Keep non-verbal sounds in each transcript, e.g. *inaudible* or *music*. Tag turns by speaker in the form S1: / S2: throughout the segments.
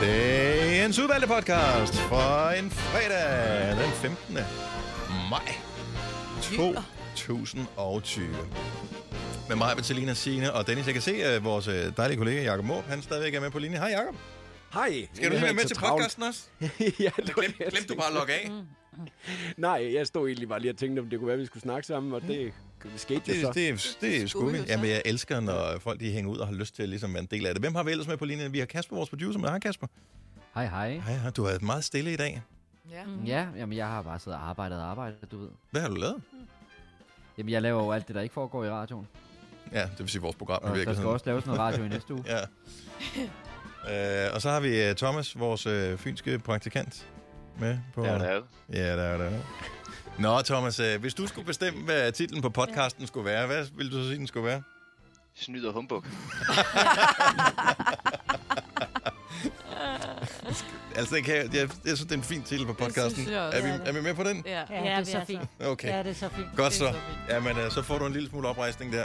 S1: Dagens udvalgte podcast fra en fredag den 15. maj 2020. Med mig, Bettelina Signe og Dennis. Jeg kan se, at vores øh, dejlige kollega Jakob Måb, han stadigvæk er med på linje. Hej Jakob.
S2: Hej.
S1: Skal du lige være med til podcasten også?
S2: *laughs* ja, det var
S1: Glem,
S2: det, jeg
S1: glemte du
S2: tænkte.
S1: bare at logge af?
S2: *laughs* Nej, jeg stod egentlig bare lige og tænkte, om det kunne være, at vi skulle snakke sammen, og det skete jo så.
S1: Det, det, det, det er sgu
S3: skulle jo
S1: vildt.
S3: så.
S1: Jamen, jeg elsker, når folk de hænger ud og har lyst til at ligesom være en del af det. Hvem har vi ellers med på linjen? Vi har Kasper, vores producer, med. Hej Kasper.
S4: Hej, hej.
S1: Hej, hej. du har været meget stille i dag.
S3: Ja.
S5: Mm.
S4: Ja, jamen, jeg har bare siddet og arbejdet og arbejdet, du ved.
S1: Hvad har du lavet?
S4: Jamen, jeg laver jo alt det, der ikke foregår i radioen.
S1: Ja, det vil sige, vores program er
S4: Og der
S1: virkelig
S4: skal
S1: sådan.
S4: også laves noget radio i næste uge.
S1: *laughs* Ja. Øh, og så har vi øh, Thomas, vores øh, fynske praktikant, med på...
S6: Ja, det er det.
S1: Ja, der er der. Nå, Thomas, øh, hvis du skulle bestemme, hvad titlen på podcasten skulle være, hvad ville du så sige, den skulle være?
S6: Snyd og humbug.
S1: *laughs* Altså, det kan, jeg, jeg, jeg synes, det er en fin titel på podcasten.
S3: synes jeg også.
S1: er,
S5: Det er
S1: vi,
S5: det.
S1: er vi med på den?
S3: Ja.
S5: Ja, det er så fint.
S1: Okay.
S5: Ja, det er så fint.
S1: Godt
S3: Det er
S1: så.
S3: så fint. Mm-hmm.
S1: Jamen, øh, så får du en lille smule oprejsning der.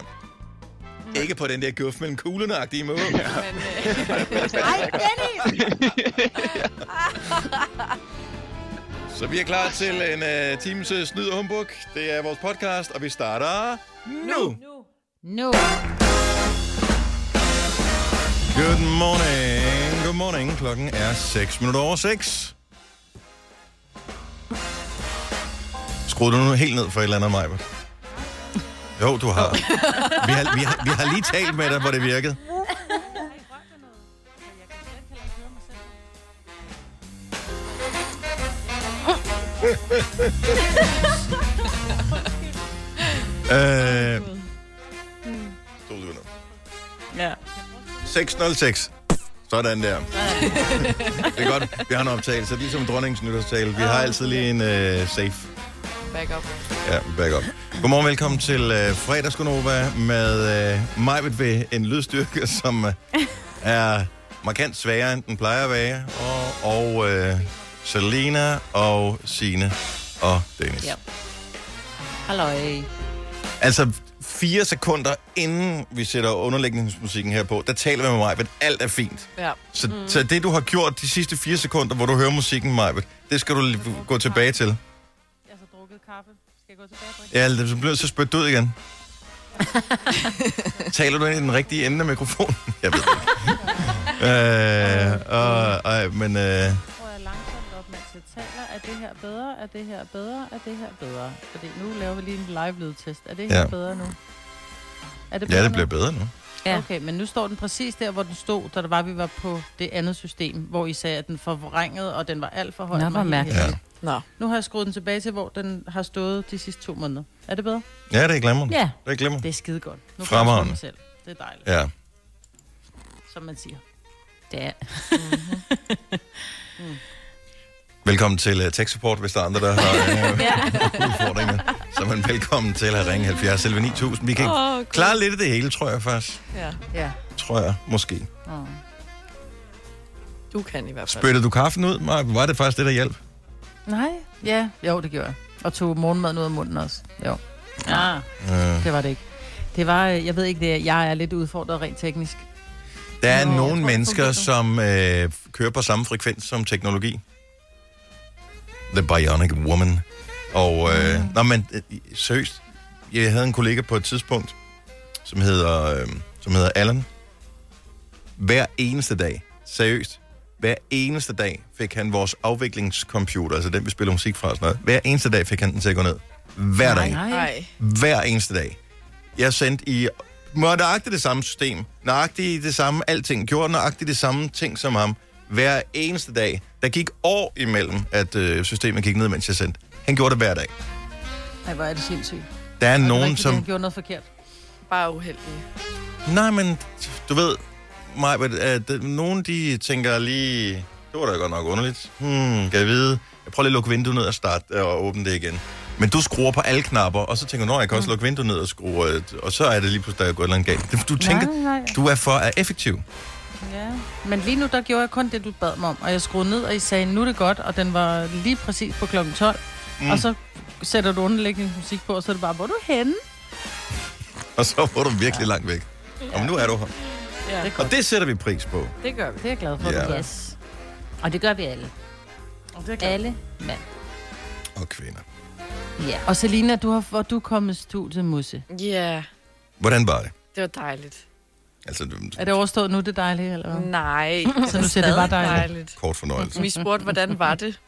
S1: Ikke på den der guf, men kuglerne-agtige
S3: *laughs*
S1: måde.
S3: Men, øh,
S5: *laughs* Ej, Dennis!
S1: *laughs* Så vi er klar til en uh, times øh, snyd og humbug. Det er vores podcast, og vi starter nu.
S5: Nu.
S1: Good morning. Good morning. Klokken er 6 minutter over 6. Skru du nu helt ned for et eller andet, Maja? Jo, du har. Vi har, vi, har, vi har lige talt med dig, hvor det virkede. Øh, stod du nu?
S3: ja.
S1: 606. Sådan der. det er godt. Vi har en optagelse, ligesom dronningens nytårstale. Vi har altid lige en uh, safe.
S3: *laughs* Back up.
S1: Ja, back up. Godmorgen, velkommen til uh, fredagskonova med uh, Majbet ved en lydstyrke, som uh, er markant sværere, end den plejer at være. Og, og uh, Selena og Sine og Dennis.
S3: Ja. Halløj.
S1: Altså, fire sekunder inden vi sætter underlægningsmusikken her på, der taler vi med Majbet. Alt er fint.
S3: Ja.
S1: Så, mm. så det, du har gjort de sidste fire sekunder, hvor du hører musikken, Majbet, det skal du l- gå tilbage til.
S7: Jeg har drukket kaffe. Skal jeg gå tilbage og drikke?
S1: Ja, eller så bliver så spyttet ud
S7: *laughs*
S1: igen. Taler du ind i den rigtige ende af mikrofonen? *laughs* Jeg ved det ikke. øh, og, og, men øh,
S7: Prøver jeg langsomt op, mens jeg taler. Er det her bedre? Er det her bedre? Er det her bedre? Fordi nu laver vi lige en live lydtest. Er det her
S1: Ja.
S7: ja. bedre nu? Er det
S1: ja, det
S7: nu?
S1: bliver bedre nu.
S7: Ja. Okay, men nu står den præcis der, hvor den stod, da det var, vi var på det andet system, hvor I sagde, at den forvrængede, og den var alt for høj.
S5: Nå,
S7: Den var
S5: hvor
S7: helt
S5: mærkeligt.
S7: hævet.
S3: Nå.
S7: Nu har jeg skruet den tilbage til, hvor den har stået de sidste to måneder. Er det bedre?
S1: Ja, det er glemmer.
S7: Ja.
S1: Det er glemmer.
S7: Det er skide godt. Nu kan jeg
S1: Fremragende.
S7: styre mig selv. Det er dejligt, ja.
S1: Ja.
S7: som man siger. Mhm.
S5: Det er. *laughs*
S1: Velkommen til uh, tech support, hvis der er andre, der har
S7: *laughs*
S1: uh, udfordringer. Så er man velkommen til at ringe 70 11 9000. Vi kan
S3: Åh,
S1: oh, klare lidt af det hele, tror jeg faktisk.
S3: Ja.
S7: Ja.
S1: Tror jeg, måske.
S7: Oh.
S3: Du kan i hvert fald.
S1: Spyttede du kaffen ud? Nej, var det faktisk det, der hjalp?
S7: Nej, ja. Jo, det gjorde jeg. Og tog morgenmaden ud af munden også. Jo. Ja, ah,
S1: Øh,
S7: det var det ikke. Det var, øh, jeg ved ikke, det er, jeg er lidt udfordret rent teknisk.
S1: der er
S7: Nå, jeg tror,
S1: nogle
S7: det
S1: mennesker,
S7: fungerer.
S1: som øh, kører på samme frekvens som teknologi. The Bionic Woman. Og, øh, mm. nå, men øh, seriøst, jeg havde en kollega på et tidspunkt, som hedder, øh, som hedder Allan. Hver eneste dag, seriøst, hver eneste dag fik han vores afviklingscomputer, altså den, vi spiller musik fra og sådan noget. Hver eneste dag fik han den til at gå ned. Hver dag.
S3: Nej.
S1: hver eneste dag. Jeg sendte i må nøjagtigt det samme system, nøjagtigt det samme alting, gjorde nøjagtigt det samme ting som ham, hver eneste dag. Der gik år imellem, at øh, systemet gik ned, mens jeg sendte. Han gjorde det hver dag.
S7: Nej, hvor er det sindssygt.
S1: Der er
S7: Og det var
S1: nogen,
S7: ikke, fordi
S1: som...
S7: Han gjorde noget forkert.
S3: Bare uheldig.
S1: Nej, men du ved, mig, at øh, nogen de tænker lige, det var da godt nok underligt. Hmm, kan jeg vide? Jeg prøver lige at lukke vinduet ned og starte øh, og åbne det igen. Men du skruer på alle knapper, og så tænker du, "Nå, jeg kan også lukke vinduet ned og skrue, øh, og så er det lige pludselig, der er gået et eller andet galt. Det- Du tænker,
S7: Nej, nej.
S1: du er for øh, effektiv.
S7: Ja. Men lige nu, der gjorde jeg kun det, du bad mig om. Og jeg skruede ned, og I sagde, nu er det godt. Og den var lige præcis på klokken 12. Mm. Og så sætter du underlægningsmusik på, og så er det bare, hvor er du henne?
S1: Og så var du virkelig langt væk. Og nu er du her.
S3: Ja.
S1: Og det sætter vi pris på.
S3: Det gør vi.
S7: Det er jeg glad for,
S1: Ja.
S7: yeah. du gør.
S5: Yes. Og det gør vi alle.
S7: Det er
S5: Alle mand.
S1: og kvinder.
S5: Ja.
S7: Og Selina, du har, hvor du er kommet i studiet, Musse.
S3: Ja,
S1: Hvordan var det?
S3: det var dejligt.
S1: Altså, du-
S7: Er det overstået nu, det er dejligt, eller hvad?
S3: Nej,
S7: *laughs* Så du siger, det var
S3: stadig
S7: dejligt. Mm.
S1: kort fornøjelse.
S3: Vi spurgte, hvordan var det?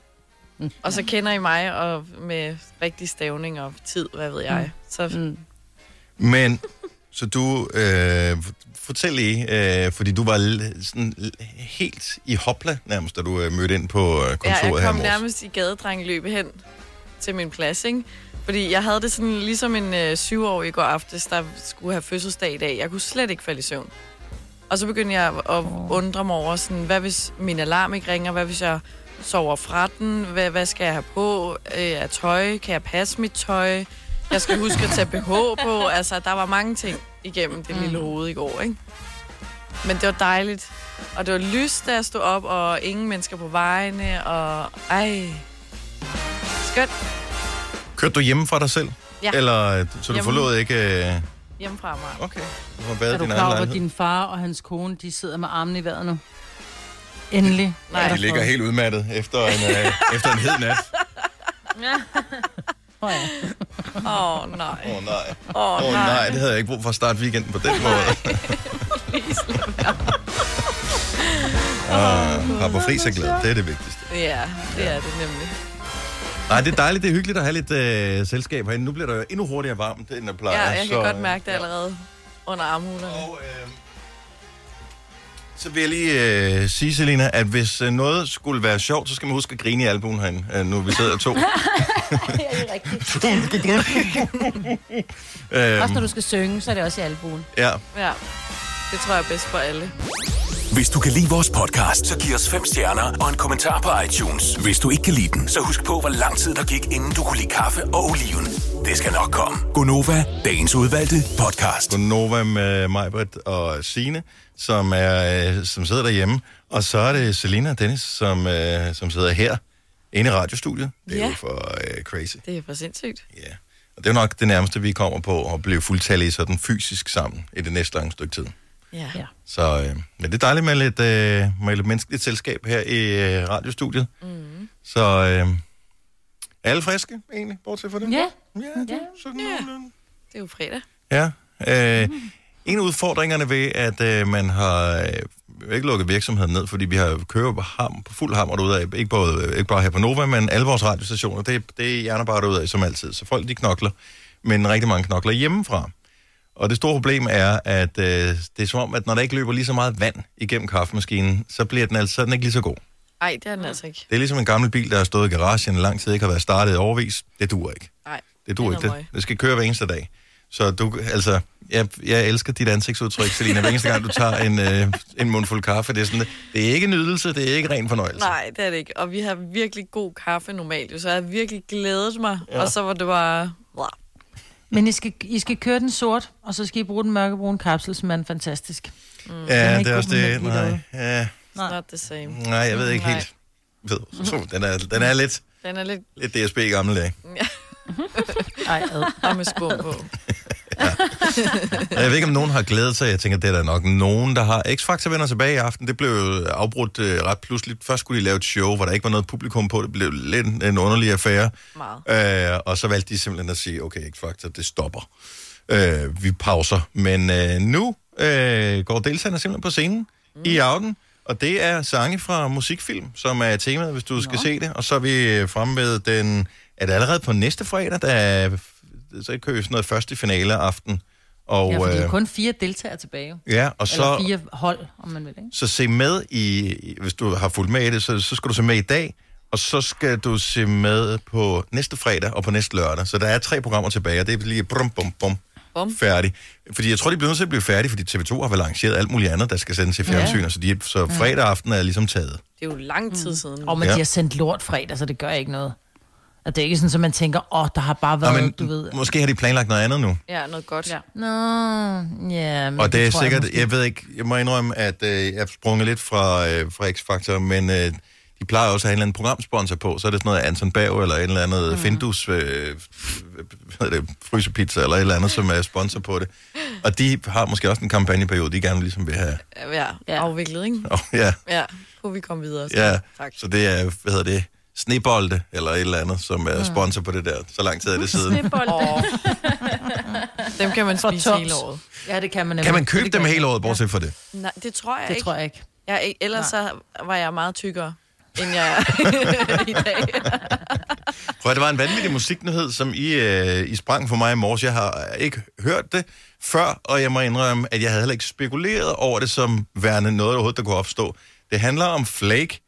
S3: Og så kender I mig og med rigtig stavning og tid, hvad ved jeg. Så
S7: Mm.
S1: Men, så du, øh, fortæl lige, øh, fordi du var l- sådan l- helt i hopla nærmest, da du øh, mødte ind på øh,
S3: ja,
S1: kontoret
S3: jeg
S1: her
S3: kom
S1: i morges.
S3: nærmest i gadedrengeløb hen til min plads, ikke? Fordi jeg havde det sådan ligesom en øh, syvårig i går aftes, der skulle have fødselsdag i dag. Jeg kunne slet ikke falde i søvn. Og så begyndte jeg at undre mig over, sådan, hvad hvis min alarm ikke ringer? Hvad hvis jeg sover fra den? Hvad, hvad skal jeg have på øh, af tøj? Kan jeg passe mit tøj? Jeg skal huske at tage BH på. Altså, der var mange ting igennem det lille hoved i går, ikke? Men det var dejligt. Og det var lyst, da jeg stod op, og ingen mennesker på vejene, og ej... Skønt
S1: Kørte du hjemme fra dig selv?
S3: Ja.
S1: Eller, øh, så du
S3: Hjemme.
S1: forlod ikke... Øh,
S3: hjemmefra mig.
S1: okay, du har været
S7: Er
S1: i
S7: du
S1: din
S7: klar
S1: egen
S7: over, at
S1: lejlighed.
S7: din far og hans kone, de sidder med armen i vejret nu? Endelig.
S3: Nej.
S7: er
S1: De
S7: der
S1: ligger
S7: fred.
S1: helt udmattet efter en, øh, efter en hed nat.
S7: *laughs* Åh, ja.
S3: Åh, oh, nej.
S1: Åh oh, nej.
S3: Åh,
S1: Åh
S3: oh,
S1: oh, nej,
S3: nej.
S1: det havde jeg ikke brug for at starte weekenden på den måde.
S3: Please, lad
S1: Ah, har på fri så glad, det er det vigtigste.
S3: være. Ja, det er det nemlig.
S1: Nej, det er dejligt, det er hyggeligt at have lidt øh, selskab herinde. Nu bliver der jo endnu hurtigere varmt, end der plejer.
S3: Ja, jeg kan
S1: så,
S3: godt
S1: øh,
S3: mærke det
S1: ja.
S3: allerede under armhulerne.
S1: Og, øh, så vil jeg lige øh, sige, Selina, at hvis øh, noget skulle være sjovt, så skal man huske at grine i albuen herinde, øh, nu vi sidder
S3: *laughs*
S1: to.
S5: *laughs* Ja, det er rigtigt.
S1: *laughs*
S5: Også når
S1: øhm,
S5: du skal synge, så er det også i albuen.
S1: ja.
S3: Ja, det tror jeg er bedst for alle.
S6: Hvis du kan lide vores podcast, så giv os fem stjerner og en kommentar på iTunes. Hvis du ikke kan lide den, så husk på, hvor lang tid der gik, inden du kunne lide kaffe og oliven. Det skal nok
S1: *laughs*
S6: komme. Gonova, dagens udvalgte podcast.
S1: Nova med Majbert og Sine, som, er, øh, som sidder derhjemme. Og så er det Selina og Dennis, som, øh, som sidder her inde i radiostudiet. Det er
S3: Ja.
S1: jo for øh, crazy.
S3: Det er for sindssygt.
S1: Ja. Og det er nok det nærmeste, vi kommer på at blive fuldtallige sådan fysisk sammen i det næste lange stykke tid.
S3: Ja.
S5: Ja.
S1: Så øh, men det er dejligt med lidt, øh, med lidt menneskeligt selskab her i øh, radiostudiet. Mm. Så øh, er alle friske egentlig, bortset fra det?
S5: Ja.
S1: Ja, det, er sådan
S3: Ja.
S1: nogenlunde.
S3: Det er jo fredag.
S1: Ja. Øh, en af udfordringerne ved, at øh, man har øh, ikke lukket virksomheden ned, fordi vi har kører på ham, på fuld hammer derude af, ikke, både, øh, ikke bare her på Nova, men alle vores radiostationer, det, det er hjerner bare derude af, som altid. Så folk, de knokler, men rigtig mange knokler hjemmefra. Og det store problem er, at øh, det er som om, at når der ikke løber lige så meget vand igennem kaffemaskinen, så bliver den altså så er den ikke lige så god.
S3: Ej, det er den altså ikke.
S1: Det er ligesom en gammel bil, der har stået i garagen i lang tid, ikke har været startet i overvis. Det duer ikke.
S3: Nej,
S1: Det duer
S3: er
S1: ikke.
S3: noget
S1: Det, det skal køre hver eneste dag. Så du, altså, jeg, jeg elsker dit ansigtsudtryk, Selina. Hver eneste gang, du tager en, øh, en mundfuld kaffe, det er sådan, det er ikke nydelse, det er ikke ren fornøjelse.
S7: Altså.
S3: Nej, det er det ikke. Og vi har virkelig god kaffe normalt, jo, så jeg havde virkelig glædet mig. Ja. Og så var det bare... Blah.
S7: Men I skal, I skal køre den sort, og så skal I bruge den mørkebrune kapsel, som er en fantastisk.
S3: Mm.
S7: Den
S1: ja,
S7: er
S1: det
S7: ikke
S1: er
S7: god
S1: også det.
S7: med
S1: Nej,
S7: derude.
S1: ja,
S3: It's not the same.
S1: nej, jeg ved ikke
S3: Nej.
S1: helt. Ved, så, den, er, den er lidt,
S3: Den er lidt
S1: lidt DSB i gamle dage.
S7: Ej, ad.
S3: og med skum
S1: *laughs*
S3: på.
S1: Og Jeg ved ikke, om nogen har glædet sig. Jeg tænker, det er der nok nogen, der har. X-Factor vender tilbage i aften. Det blev jo afbrudt øh, ret pludseligt. Først skulle de lave et show, hvor der ikke var noget publikum på. Det blev lidt en underlig affære.
S3: Meget.
S1: Øh, og så valgte de simpelthen at sige, okay, X-Factor, det stopper. Øh, vi pauser. Men øh, nu øh, går deltagerne simpelthen på scenen mm. i aften. Og det er sange fra musikfilm, som er temaet, hvis du skal se det. Og så er vi øh, fremme med den... Er det allerede på næste fredag, der er, så kører vi sådan noget første finale aften. Og,
S7: Ja, fordi der
S1: øh,
S7: er kun fire deltagere tilbage. jo.
S1: Ja, og
S7: Eller
S1: så,
S7: fire hold, om man vil. Ikke?
S1: så se med i, i- hvis du har fulgt med i det, så, så skal du se med i dag, og så skal du se med på næste fredag og på næste lørdag. Så der er tre programmer tilbage, og det er lige brum, bum, bum,
S3: Bum.
S1: færdig. Fordi jeg tror, de bliver nødt til at blive færdige, fordi TV2 har vel arrangeret alt muligt andet, der skal sendes i fjernsyn, ja. så, de, så fredag aften er ligesom taget.
S3: Det er jo lang tid siden.
S7: Og Mm. men
S1: Ja.
S7: ja. de har sendt lort fredag, så det gør ikke noget. Og det er ikke sådan, at man tænker, åh, oh, der har bare
S1: Nå,
S7: været,
S1: men
S7: du ved.
S1: måske har de planlagt noget andet nu.
S3: Ja, noget godt. Ja.
S7: Nå, *laughs* ja. men
S1: Og det er
S7: Mm. tror
S1: sikkert,
S7: måske-
S1: jeg, jeg ved ikke, jeg må indrømme, at øh, jeg har sprunget lidt fra, øh, fra X-Factor, men øh, de plejer også at have en eller anden programsponsor på, så er det sådan noget Anton Bav eller et eller andet mm. Findus, øh, f- hvad hedder det, frysepizza eller et eller andet, som er sponsor på det. Og de har måske også en kampagneperiode, de gerne ligesom vil have.
S3: ja,
S5: Ja.
S3: afviklet, ikke?
S1: Oh, ja,
S3: Ja, kunne vi komme videre. Så.
S1: *laughs* ja.
S3: Tak.
S1: Så det er, hvad hedder det, Snebolde, eller et eller andet, som er sponsor på det der. Så lang tid er det siden.
S3: Åh. Dem kan man spise
S7: tops.
S3: hele året.
S7: Ja, det kan man nemlig.
S1: Kan man
S7: Det
S1: købe dem
S7: kan
S1: hele
S7: jeg.
S1: året, bortset fra det?
S3: Nej, det tror jeg
S7: Det
S3: ikke.
S7: tror jeg ikke.
S3: jeg ikke. Ellers så var jeg meget tykkere, end jeg er
S7: *laughs*
S3: i dag.
S1: Prøv, at, det var en vanvittig musiknyhed, som I, øh, I sprang for mig i morges. Jeg har ikke hørt det før, og jeg må indrømme, at jeg havde heller ikke spekuleret over det som værende noget, der overhovedet der kunne opstå. Det handler om Flake,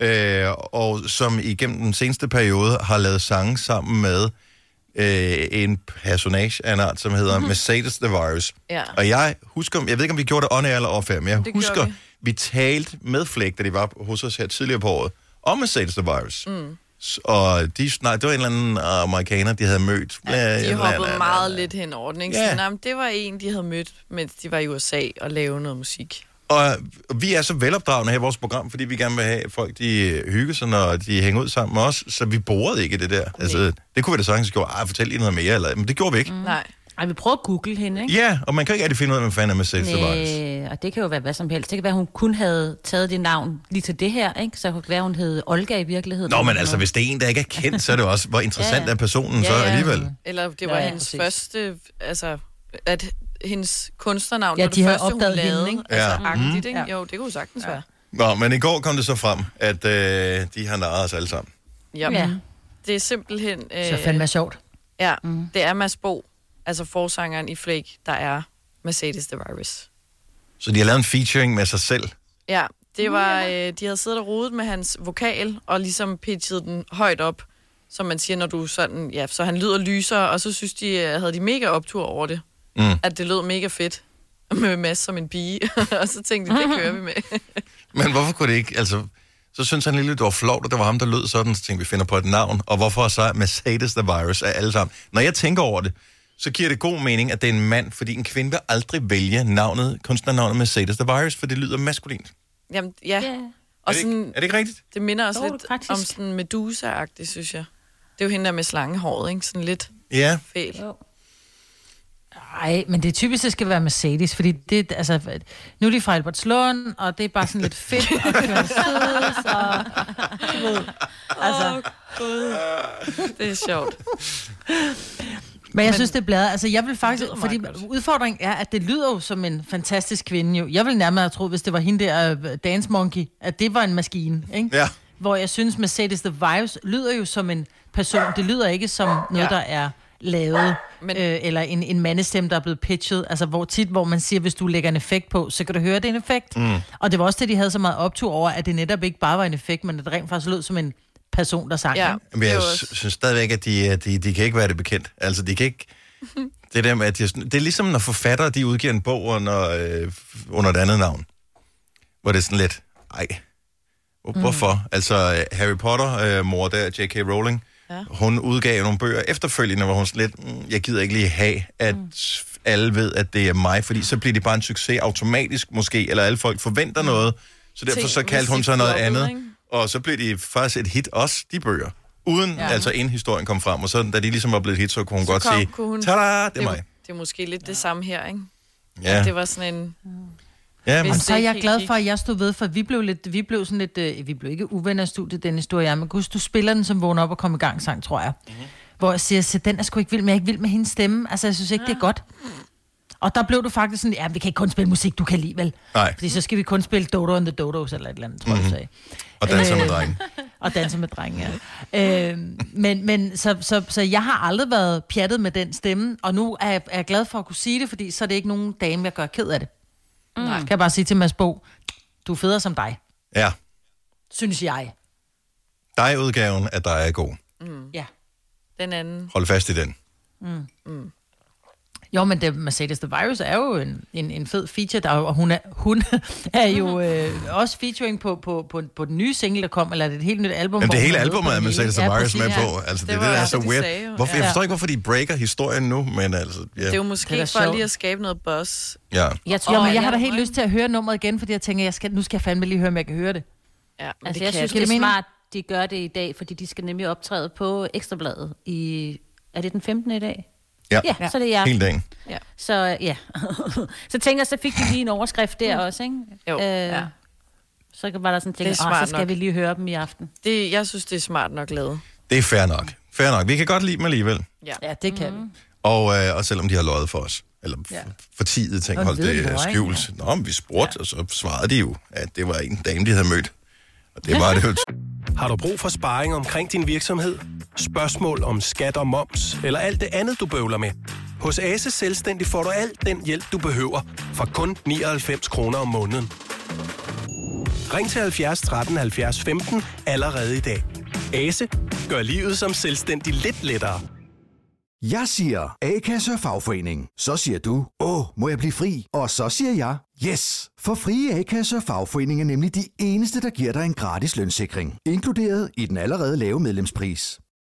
S1: øh, og som igennem den seneste periode har lavet sange sammen med øh, en personage af en art, som hedder Mercedes The Virus.
S3: Mhm. Ja.
S1: Og jeg husker, jeg ved ikke, om vi gjorde det on air eller off air, men jeg
S3: Det gjorde
S1: husker,
S3: vi.
S1: vi talte med Flake, da de var hos os her tidligere på året, om Mercedes The Virus. Mm. Og de, nej, det var en eller anden øh, amerikaner, de havde mødt.
S3: Ja, de hoppede meget
S1: lidt.
S3: lidt hen over den, ikke?
S1: Ja.
S3: Så, nej, men det var en, de havde mødt, mens de var i USA og lavede noget musik.
S1: Og vi er så velopdragende her i vores program, fordi vi gerne vil have at folk, de øh, hygger sig, når de hænger ud sammen med os, så vi borede ikke i det der. Altså, det kunne vi da sagtens gøre. Ej, fortæl lige noget mere, eller, men det gjorde vi ikke. Mm.
S3: Nej.
S5: Ej, vi prøver at google hende, ikke?
S1: Ja, og man kan ikke rigtig finde ud af, hvem fanden er Mercedes The Virus.
S5: Næh, og det kan jo være hvad som helst. Det kan være, hun kun havde taget det navn lige til det her, ikke? Så kunne det være, hun hed Olga i virkeligheden.
S1: Nå, men altså, hvis det er en, der ikke er kendt, så er det jo også, hvor interessant ja,
S5: Ja, ja.
S1: er personen ja, så alligevel.
S3: Eller det
S5: Nå,
S3: var ja,
S5: ja,
S3: hendes
S5: præcis.
S3: første, altså, at hendes kunstnernavn
S7: Ja,
S3: var det
S7: de havde
S3: første, hun
S7: opdaget hende,
S3: lavede.
S7: ikke? Mhm.
S3: Altså,
S1: Ja.
S3: agtigt, ikke? Jo, det kunne sagtens være.
S1: Nå, men i går kom det så frem, at øh, de har narret os alle sammen.
S3: Ja.
S5: Ja.
S3: Det er simpelthen... Øh,
S7: Så fandme sjovt. Mhm.
S3: Ja, mm. det er Mads Bo, altså forsangeren i Flake, der er Mercedes The Virus.
S1: Så de har lavet en featuring med sig selv.
S3: Ja, det var, øh, de havde siddet og rodet med hans vokal, og ligesom pitchet den højt op, som man siger, når du sådan, ja, så han lyder lysere, og så synes de, øh, havde de mega optur over det,
S1: Mm.
S3: at det lød mega fedt *laughs* med Mads som en pige, *laughs* og så tænkte de, det kører vi med.
S1: Men hvorfor kunne det ikke, altså... Så synes han lige, lidt, det var flot, og det var ham, der lød sådan, så tænkte vi finder på et navn. Og hvorfor så Mercedes The Virus af alle sammen? Når jeg tænker over det, så giver det god mening, at det er en mand, fordi en kvinde vil aldrig vælge navnet, kunstnernavnet Mercedes The Virus, for det lyder maskulint.
S3: Jamen, ja.
S5: Ja.
S1: Er
S3: Og
S1: det, ikke,
S3: sådan,
S1: er det ikke rigtigt?
S3: det minder også
S5: Jo,
S3: lidt
S5: faktisk.
S3: om sådan Medusa-agtigt, synes jeg. Det er jo hende der med slangehåret, ikke? Sådan lidt
S1: Ja.
S3: fæl.
S5: Jo.
S7: Nej, men det er typisk, det skal være Mercedes, fordi det, altså, nu er de fra Albertslund, og det er bare sådan lidt fedt, og det er søde,
S3: *laughs*
S7: så... Du ved, altså,
S3: Åh, Gud. Det er sjovt.
S7: Men jeg synes, det er bladet. Altså, jeg vil faktisk...
S3: lyder
S7: Fordi
S3: meget godt.
S7: udfordringen er, at det lyder jo som en fantastisk kvinde jo. Jeg vil nærmere have troet, hvis det var hende der, øh, Dance Monkey, at det var en maskine, ikke?
S1: Ja.
S7: Hvor jeg synes, Mercedes The Vibes lyder jo som en person. Det lyder ikke som noget,
S3: Ja.
S7: der er lavet,
S3: Men-
S7: Men... øh, eller en, en mandestemme, der er blevet pitchet. Altså, hvor tit, hvor man siger, hvis du lægger en effekt på, så kan du høre, at det er en effekt. Mm. Og det var også det, de havde så meget optur over, at det netop ikke bare var en effekt, men at det rent faktisk lød som en person, der sang.
S3: Ja,
S7: ikke?
S1: Men
S3: det er
S1: jeg
S3: jo
S1: sy-
S3: også...
S1: synes stadigvæk, at de, øh, de, de kan ikke være det bekendt. Altså, de kan
S3: *laughs*
S1: ikke... Det, der med, at de, er sådan- det er ligesom, når forfattere de udgiver en bog under, øh, under et andet navn. Hvor det er sådan lidt, ej, hvor- hvorfor? Mm. Altså, øh, Harry Potter, øh, mor der, J.K. Rowling, ja. hun udgav nogle bøger efterfølgende, hvor hun sådan lidt, mm, jeg gider ikke lige have, at mm. alle ved, at det er mig, fordi så bliver det bare en succes automatisk måske, eller alle folk forventer mm. noget, så derfor
S3: Ting,
S1: så kaldte hun
S3: musik
S1: så noget
S3: floppede,
S1: andet.
S3: ikke?
S1: Og så blev de faktisk et hit også, de bøger. Uden, ja. altså inden historien kom frem. Og så da de ligesom var blevet et hit, så kunne hun
S3: Så
S1: godt
S3: kom-
S1: sige,
S3: kunne hun-
S1: tada, det er
S3: Det,
S1: mig.
S3: det er måske lidt det samme her, ikke?
S1: Ja,
S3: Det var sådan en...
S1: ja men,
S7: Jamen,
S3: hvis-
S7: så er
S3: det
S7: jeg
S3: ikke
S7: glad
S3: helt
S7: for, at jeg stod ved, for vi blev, lidt, vi blev sådan lidt, øh, vi blev ikke uvenner af studiet, den historie, men gud, du spiller den som vågn op og kom i gang sang, tror jeg.
S3: Mhm.
S7: Mm-hmm. Hvor jeg siger, så den er sgu ikke vild, men jeg er ikke vild med hendes stemme, altså jeg synes ikke, det
S3: Ah.
S7: er godt. Og der blev du faktisk sådan, ja, vi kan ikke kun spille musik, du kan lide, vel?
S1: Nej. Mhm.
S7: Fordi så skal vi kun spille Dodo and the Dodos, eller et eller andet, tror jeg, mm-hmm. du sagde.
S1: og danser med
S7: Øh,
S1: drengen.
S7: *laughs* Og danser med drenge, ja. øh, men men så, så, så jeg har aldrig været pjattet med den stemme, og nu er jeg, er jeg glad for at kunne sige det, fordi så er det ikke nogen dame, jeg gør ked af det. Mm. Kan jeg bare sige til Mads Bo, du er federe som dig,
S1: Ja,
S7: synes jeg.
S1: dig-udgaven af dig er god.
S7: Ja.
S3: Mm. Den anden...
S1: Hold fast i den.
S7: Mm. Jo, men det, Mercedes The Virus er jo en, en, en fed feature, der, er jo- og hun er, hun er jo øh, også featuring på, på, på, på den nye single, der kom, eller er det et helt nyt album.
S1: Jamen,
S7: hvor
S1: det
S7: hun
S1: hele
S7: er med på
S1: albumet er
S7: den
S1: Mercedes
S7: hele?
S1: The Virus
S7: præcis.
S1: med på. Altså, det,
S3: Det
S1: er det,
S3: var
S1: der er
S3: også
S1: så
S3: det, de sagde
S1: weird.
S3: jo.
S1: Hvorfor, jeg
S3: Ja.
S1: forstår ikke, hvorfor de breaker historien nu, men altså... Ja.
S3: Det er jo måske
S7: Det er
S3: det
S7: da
S3: er for
S7: sjovt.
S3: lige at skabe noget buzz.
S1: ja.
S5: Jeg
S7: Jo,
S5: tror,
S7: men jeg har da
S3: Ja.
S7: helt lyst til at høre nummeret igen, fordi jeg tænker, jeg skal, nu skal jeg fandme lige høre, om jeg kan høre det.
S3: Ja, men
S5: Altså,
S3: det kan
S5: jeg synes,
S3: det.
S5: det er
S7: mening?
S5: smart, de gør det i dag, fordi de skal nemlig optræde på Ekstrabladet i... Er det den 15. i dag?
S1: Ja.
S5: Ja, ja, så det er jeg.
S1: Hele dagen.
S5: Så ja. *laughs* så tænker jeg, så fik de lige en overskrift der også, ikke?
S3: Mm.
S5: Øh,
S3: Jo, ja.
S5: Så var der sådan
S3: er
S5: tænkt, så
S3: smart
S5: skal
S3: nok."
S5: vi lige høre dem i aften.
S3: Det, jeg synes, det er smart nok lavet.
S1: Det er fair nok. Fair nok. Vi kan godt lide dem alligevel.
S7: Ja, det kan mm. vi.
S1: Og, øh, og selvom de har løjet for os. Eller ja.
S7: Ja.
S1: for tidet ting,
S7: Og
S1: holdt
S7: ved
S1: det
S7: løgn, ja.
S1: skjult. Nå, men vi spurgte, ja. og så svarede de jo, at det var en dame, de havde mødt. Og det var det jo
S6: Har du brug for sparring omkring din virksomhed? Spørgsmål om skat og moms, eller alt det andet, du bøvler med? Hos Ase Selvstændig får du alt den hjælp, du behøver, for kun 99 kroner om måneden. Ring til 70 13 70 15 allerede i dag. Ase gør livet som selvstændig lidt lettere.
S8: Jeg siger A-kasse og fagforening. Så siger du, åh, må jeg blive fri? Og så siger jeg, yes! For frie A-kasse og fagforening er nemlig de eneste, der giver dig en gratis lønssikring. Inkluderet i den allerede lave medlemspris.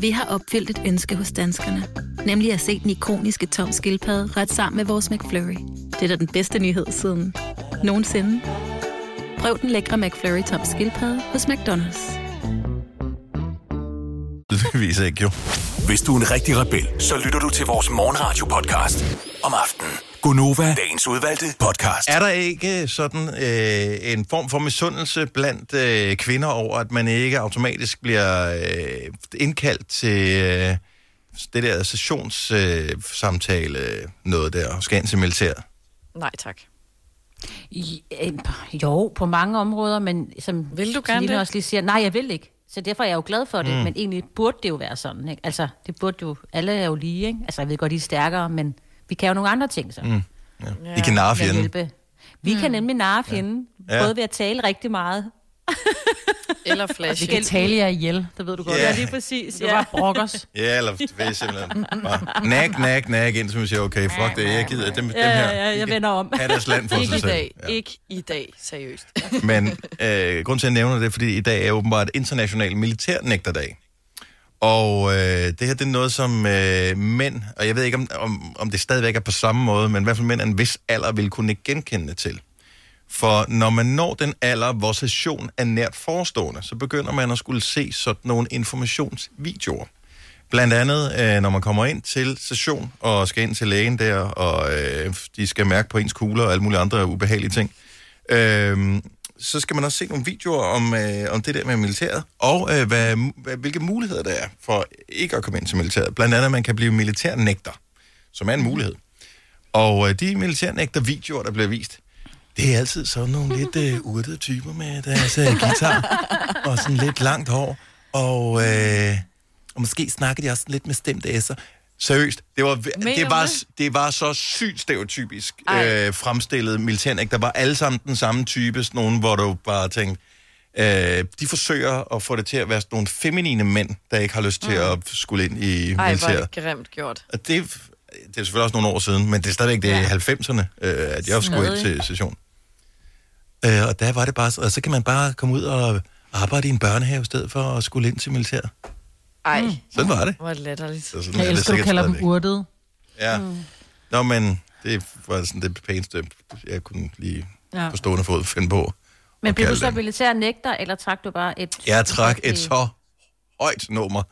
S9: Vi har opfyldt et ønske hos danskerne. Nemlig at se den ikoniske tom skildpadde ret sammen med vores McFlurry. Det er da den bedste nyhed siden nogensinde. Prøv den lækre McFlurry tom skildpadde hos McDonald's.
S1: tydeligvis ikke jo.
S6: Hvis du er en rigtig rebel, så lytter du til vores morgenradio-podcast om aftenen. Gunova, dagens udvalgte podcast.
S1: Er der ikke sådan øh, en form for misundelse blandt øh, kvinder over, at man ikke automatisk bliver øh, indkaldt til øh, det der sessionssamtale, øh, samtale, noget der, skal ind til militæret?
S3: Nej, tak.
S5: I, øh, jo, på mange områder, men som
S3: Vil du gerne
S5: Selina
S3: det?
S5: også lige siger, nej, jeg vil ikke. Så derfor er jeg jo glad for det, mm. men egentlig burde det jo være sådan. Ikke? Altså, det burde jo, alle er jo lige, ikke? Altså, jeg ved godt, I er stærkere, men vi kan jo nogle andre ting så. *laughs* Mm.
S1: Ja. I kan narre fjenden.
S5: Hjælpe. Vi mm. kan nemlig narre fjenden,
S1: Ja.
S5: ja. både ved at tale rigtig meget.
S3: Eller flash.
S7: Vi kan tale jer ihjel, det ved du godt.
S1: Ja.
S7: Yeah.
S1: lige
S5: præcis,
S7: Du bare
S5: *laughs*
S7: brokkers.
S1: Ja, *laughs* eller ved simpelthen bare nak, nak, nak, indtil man siger, okay, fuck det, jeg gider dem, dem her.
S5: Ja, ja, jeg vender om.
S1: Ha' deres land for
S3: Ikke
S1: sig
S3: i
S1: selv.
S3: dag.
S1: Ja.
S3: Ikke i dag,
S1: *laughs*
S3: seriøst.
S1: Men øh, grunden til, at jeg nævner det, er, fordi i dag er åbenbart international militærnægterdag. Og øh, det her, det er noget, som øh, mænd, og jeg ved ikke, om, om, om det stadigvæk er på samme måde, men i hvert fald mænd af en vis alder vil kunne ikke genkende til. For når man når den alder, hvor session er nært forestående, så begynder man at skulle se sådan nogle informationsvideoer. Blandt andet, øh, når man kommer ind til session og skal ind til lægen der, og øh, de skal mærke på ens kugler og alle mulige andre ubehagelige ting, øh, så skal man også se nogle videoer om, øh, om det der med militæret, og øh, hvad, hvad, hvilke muligheder der er for ikke at komme ind til militæret. Blandt andet, at man kan blive militærnægter, som er en mulighed. Og øh, de militærnægter videoer, der bliver vist, det er altid sådan nogle lidt øh, urtede typer med deres øh, guitar og sådan lidt langt hår. Og, øh, og måske snakker de også sådan lidt med stemte S'er. Seriøst, det var,
S3: Mener
S1: det,
S3: du
S1: var,
S3: det?
S1: det var så sygt stereotypisk
S3: Ej.
S1: øh, fremstillet militærnægt. Der var alle sammen den samme type, sådan nogen, hvor du bare tænkte, øh, de forsøger at få det til at være sådan nogle feminine mænd, der ikke har lyst til at skulle ind i
S3: Mm. Ej, hvor er
S1: militæret.
S3: det grimt gjort.
S1: Og det, det er selvfølgelig også nogle år siden, men det er stadigvæk det ja. 90'erne, øh, at jeg skulle ind
S5: Stadig.
S1: til session. Øh, og der var det bare, så- og så kan man bare komme ud og arbejde i en børnehave, i stedet for at skulle ind til militæret.
S3: Ej,
S1: Sådan var det.
S3: hvor er det latterligt.
S1: Så sådan
S7: Mm. Jeg
S1: er det
S7: elsker, du
S1: sikkert
S7: kalder dem
S1: stadigvæk.
S7: urtede.
S1: Ja. Mm. Nå, men det var sådan det pæneste, jeg kunne lige ja.
S7: Ja.
S1: på stående fod finde på.
S5: Men
S1: at
S5: blev du
S1: kalde
S5: så
S1: dem.
S5: militær nægter, eller trak du bare et...
S1: Jeg trak et
S5: et-
S1: så højt nummer,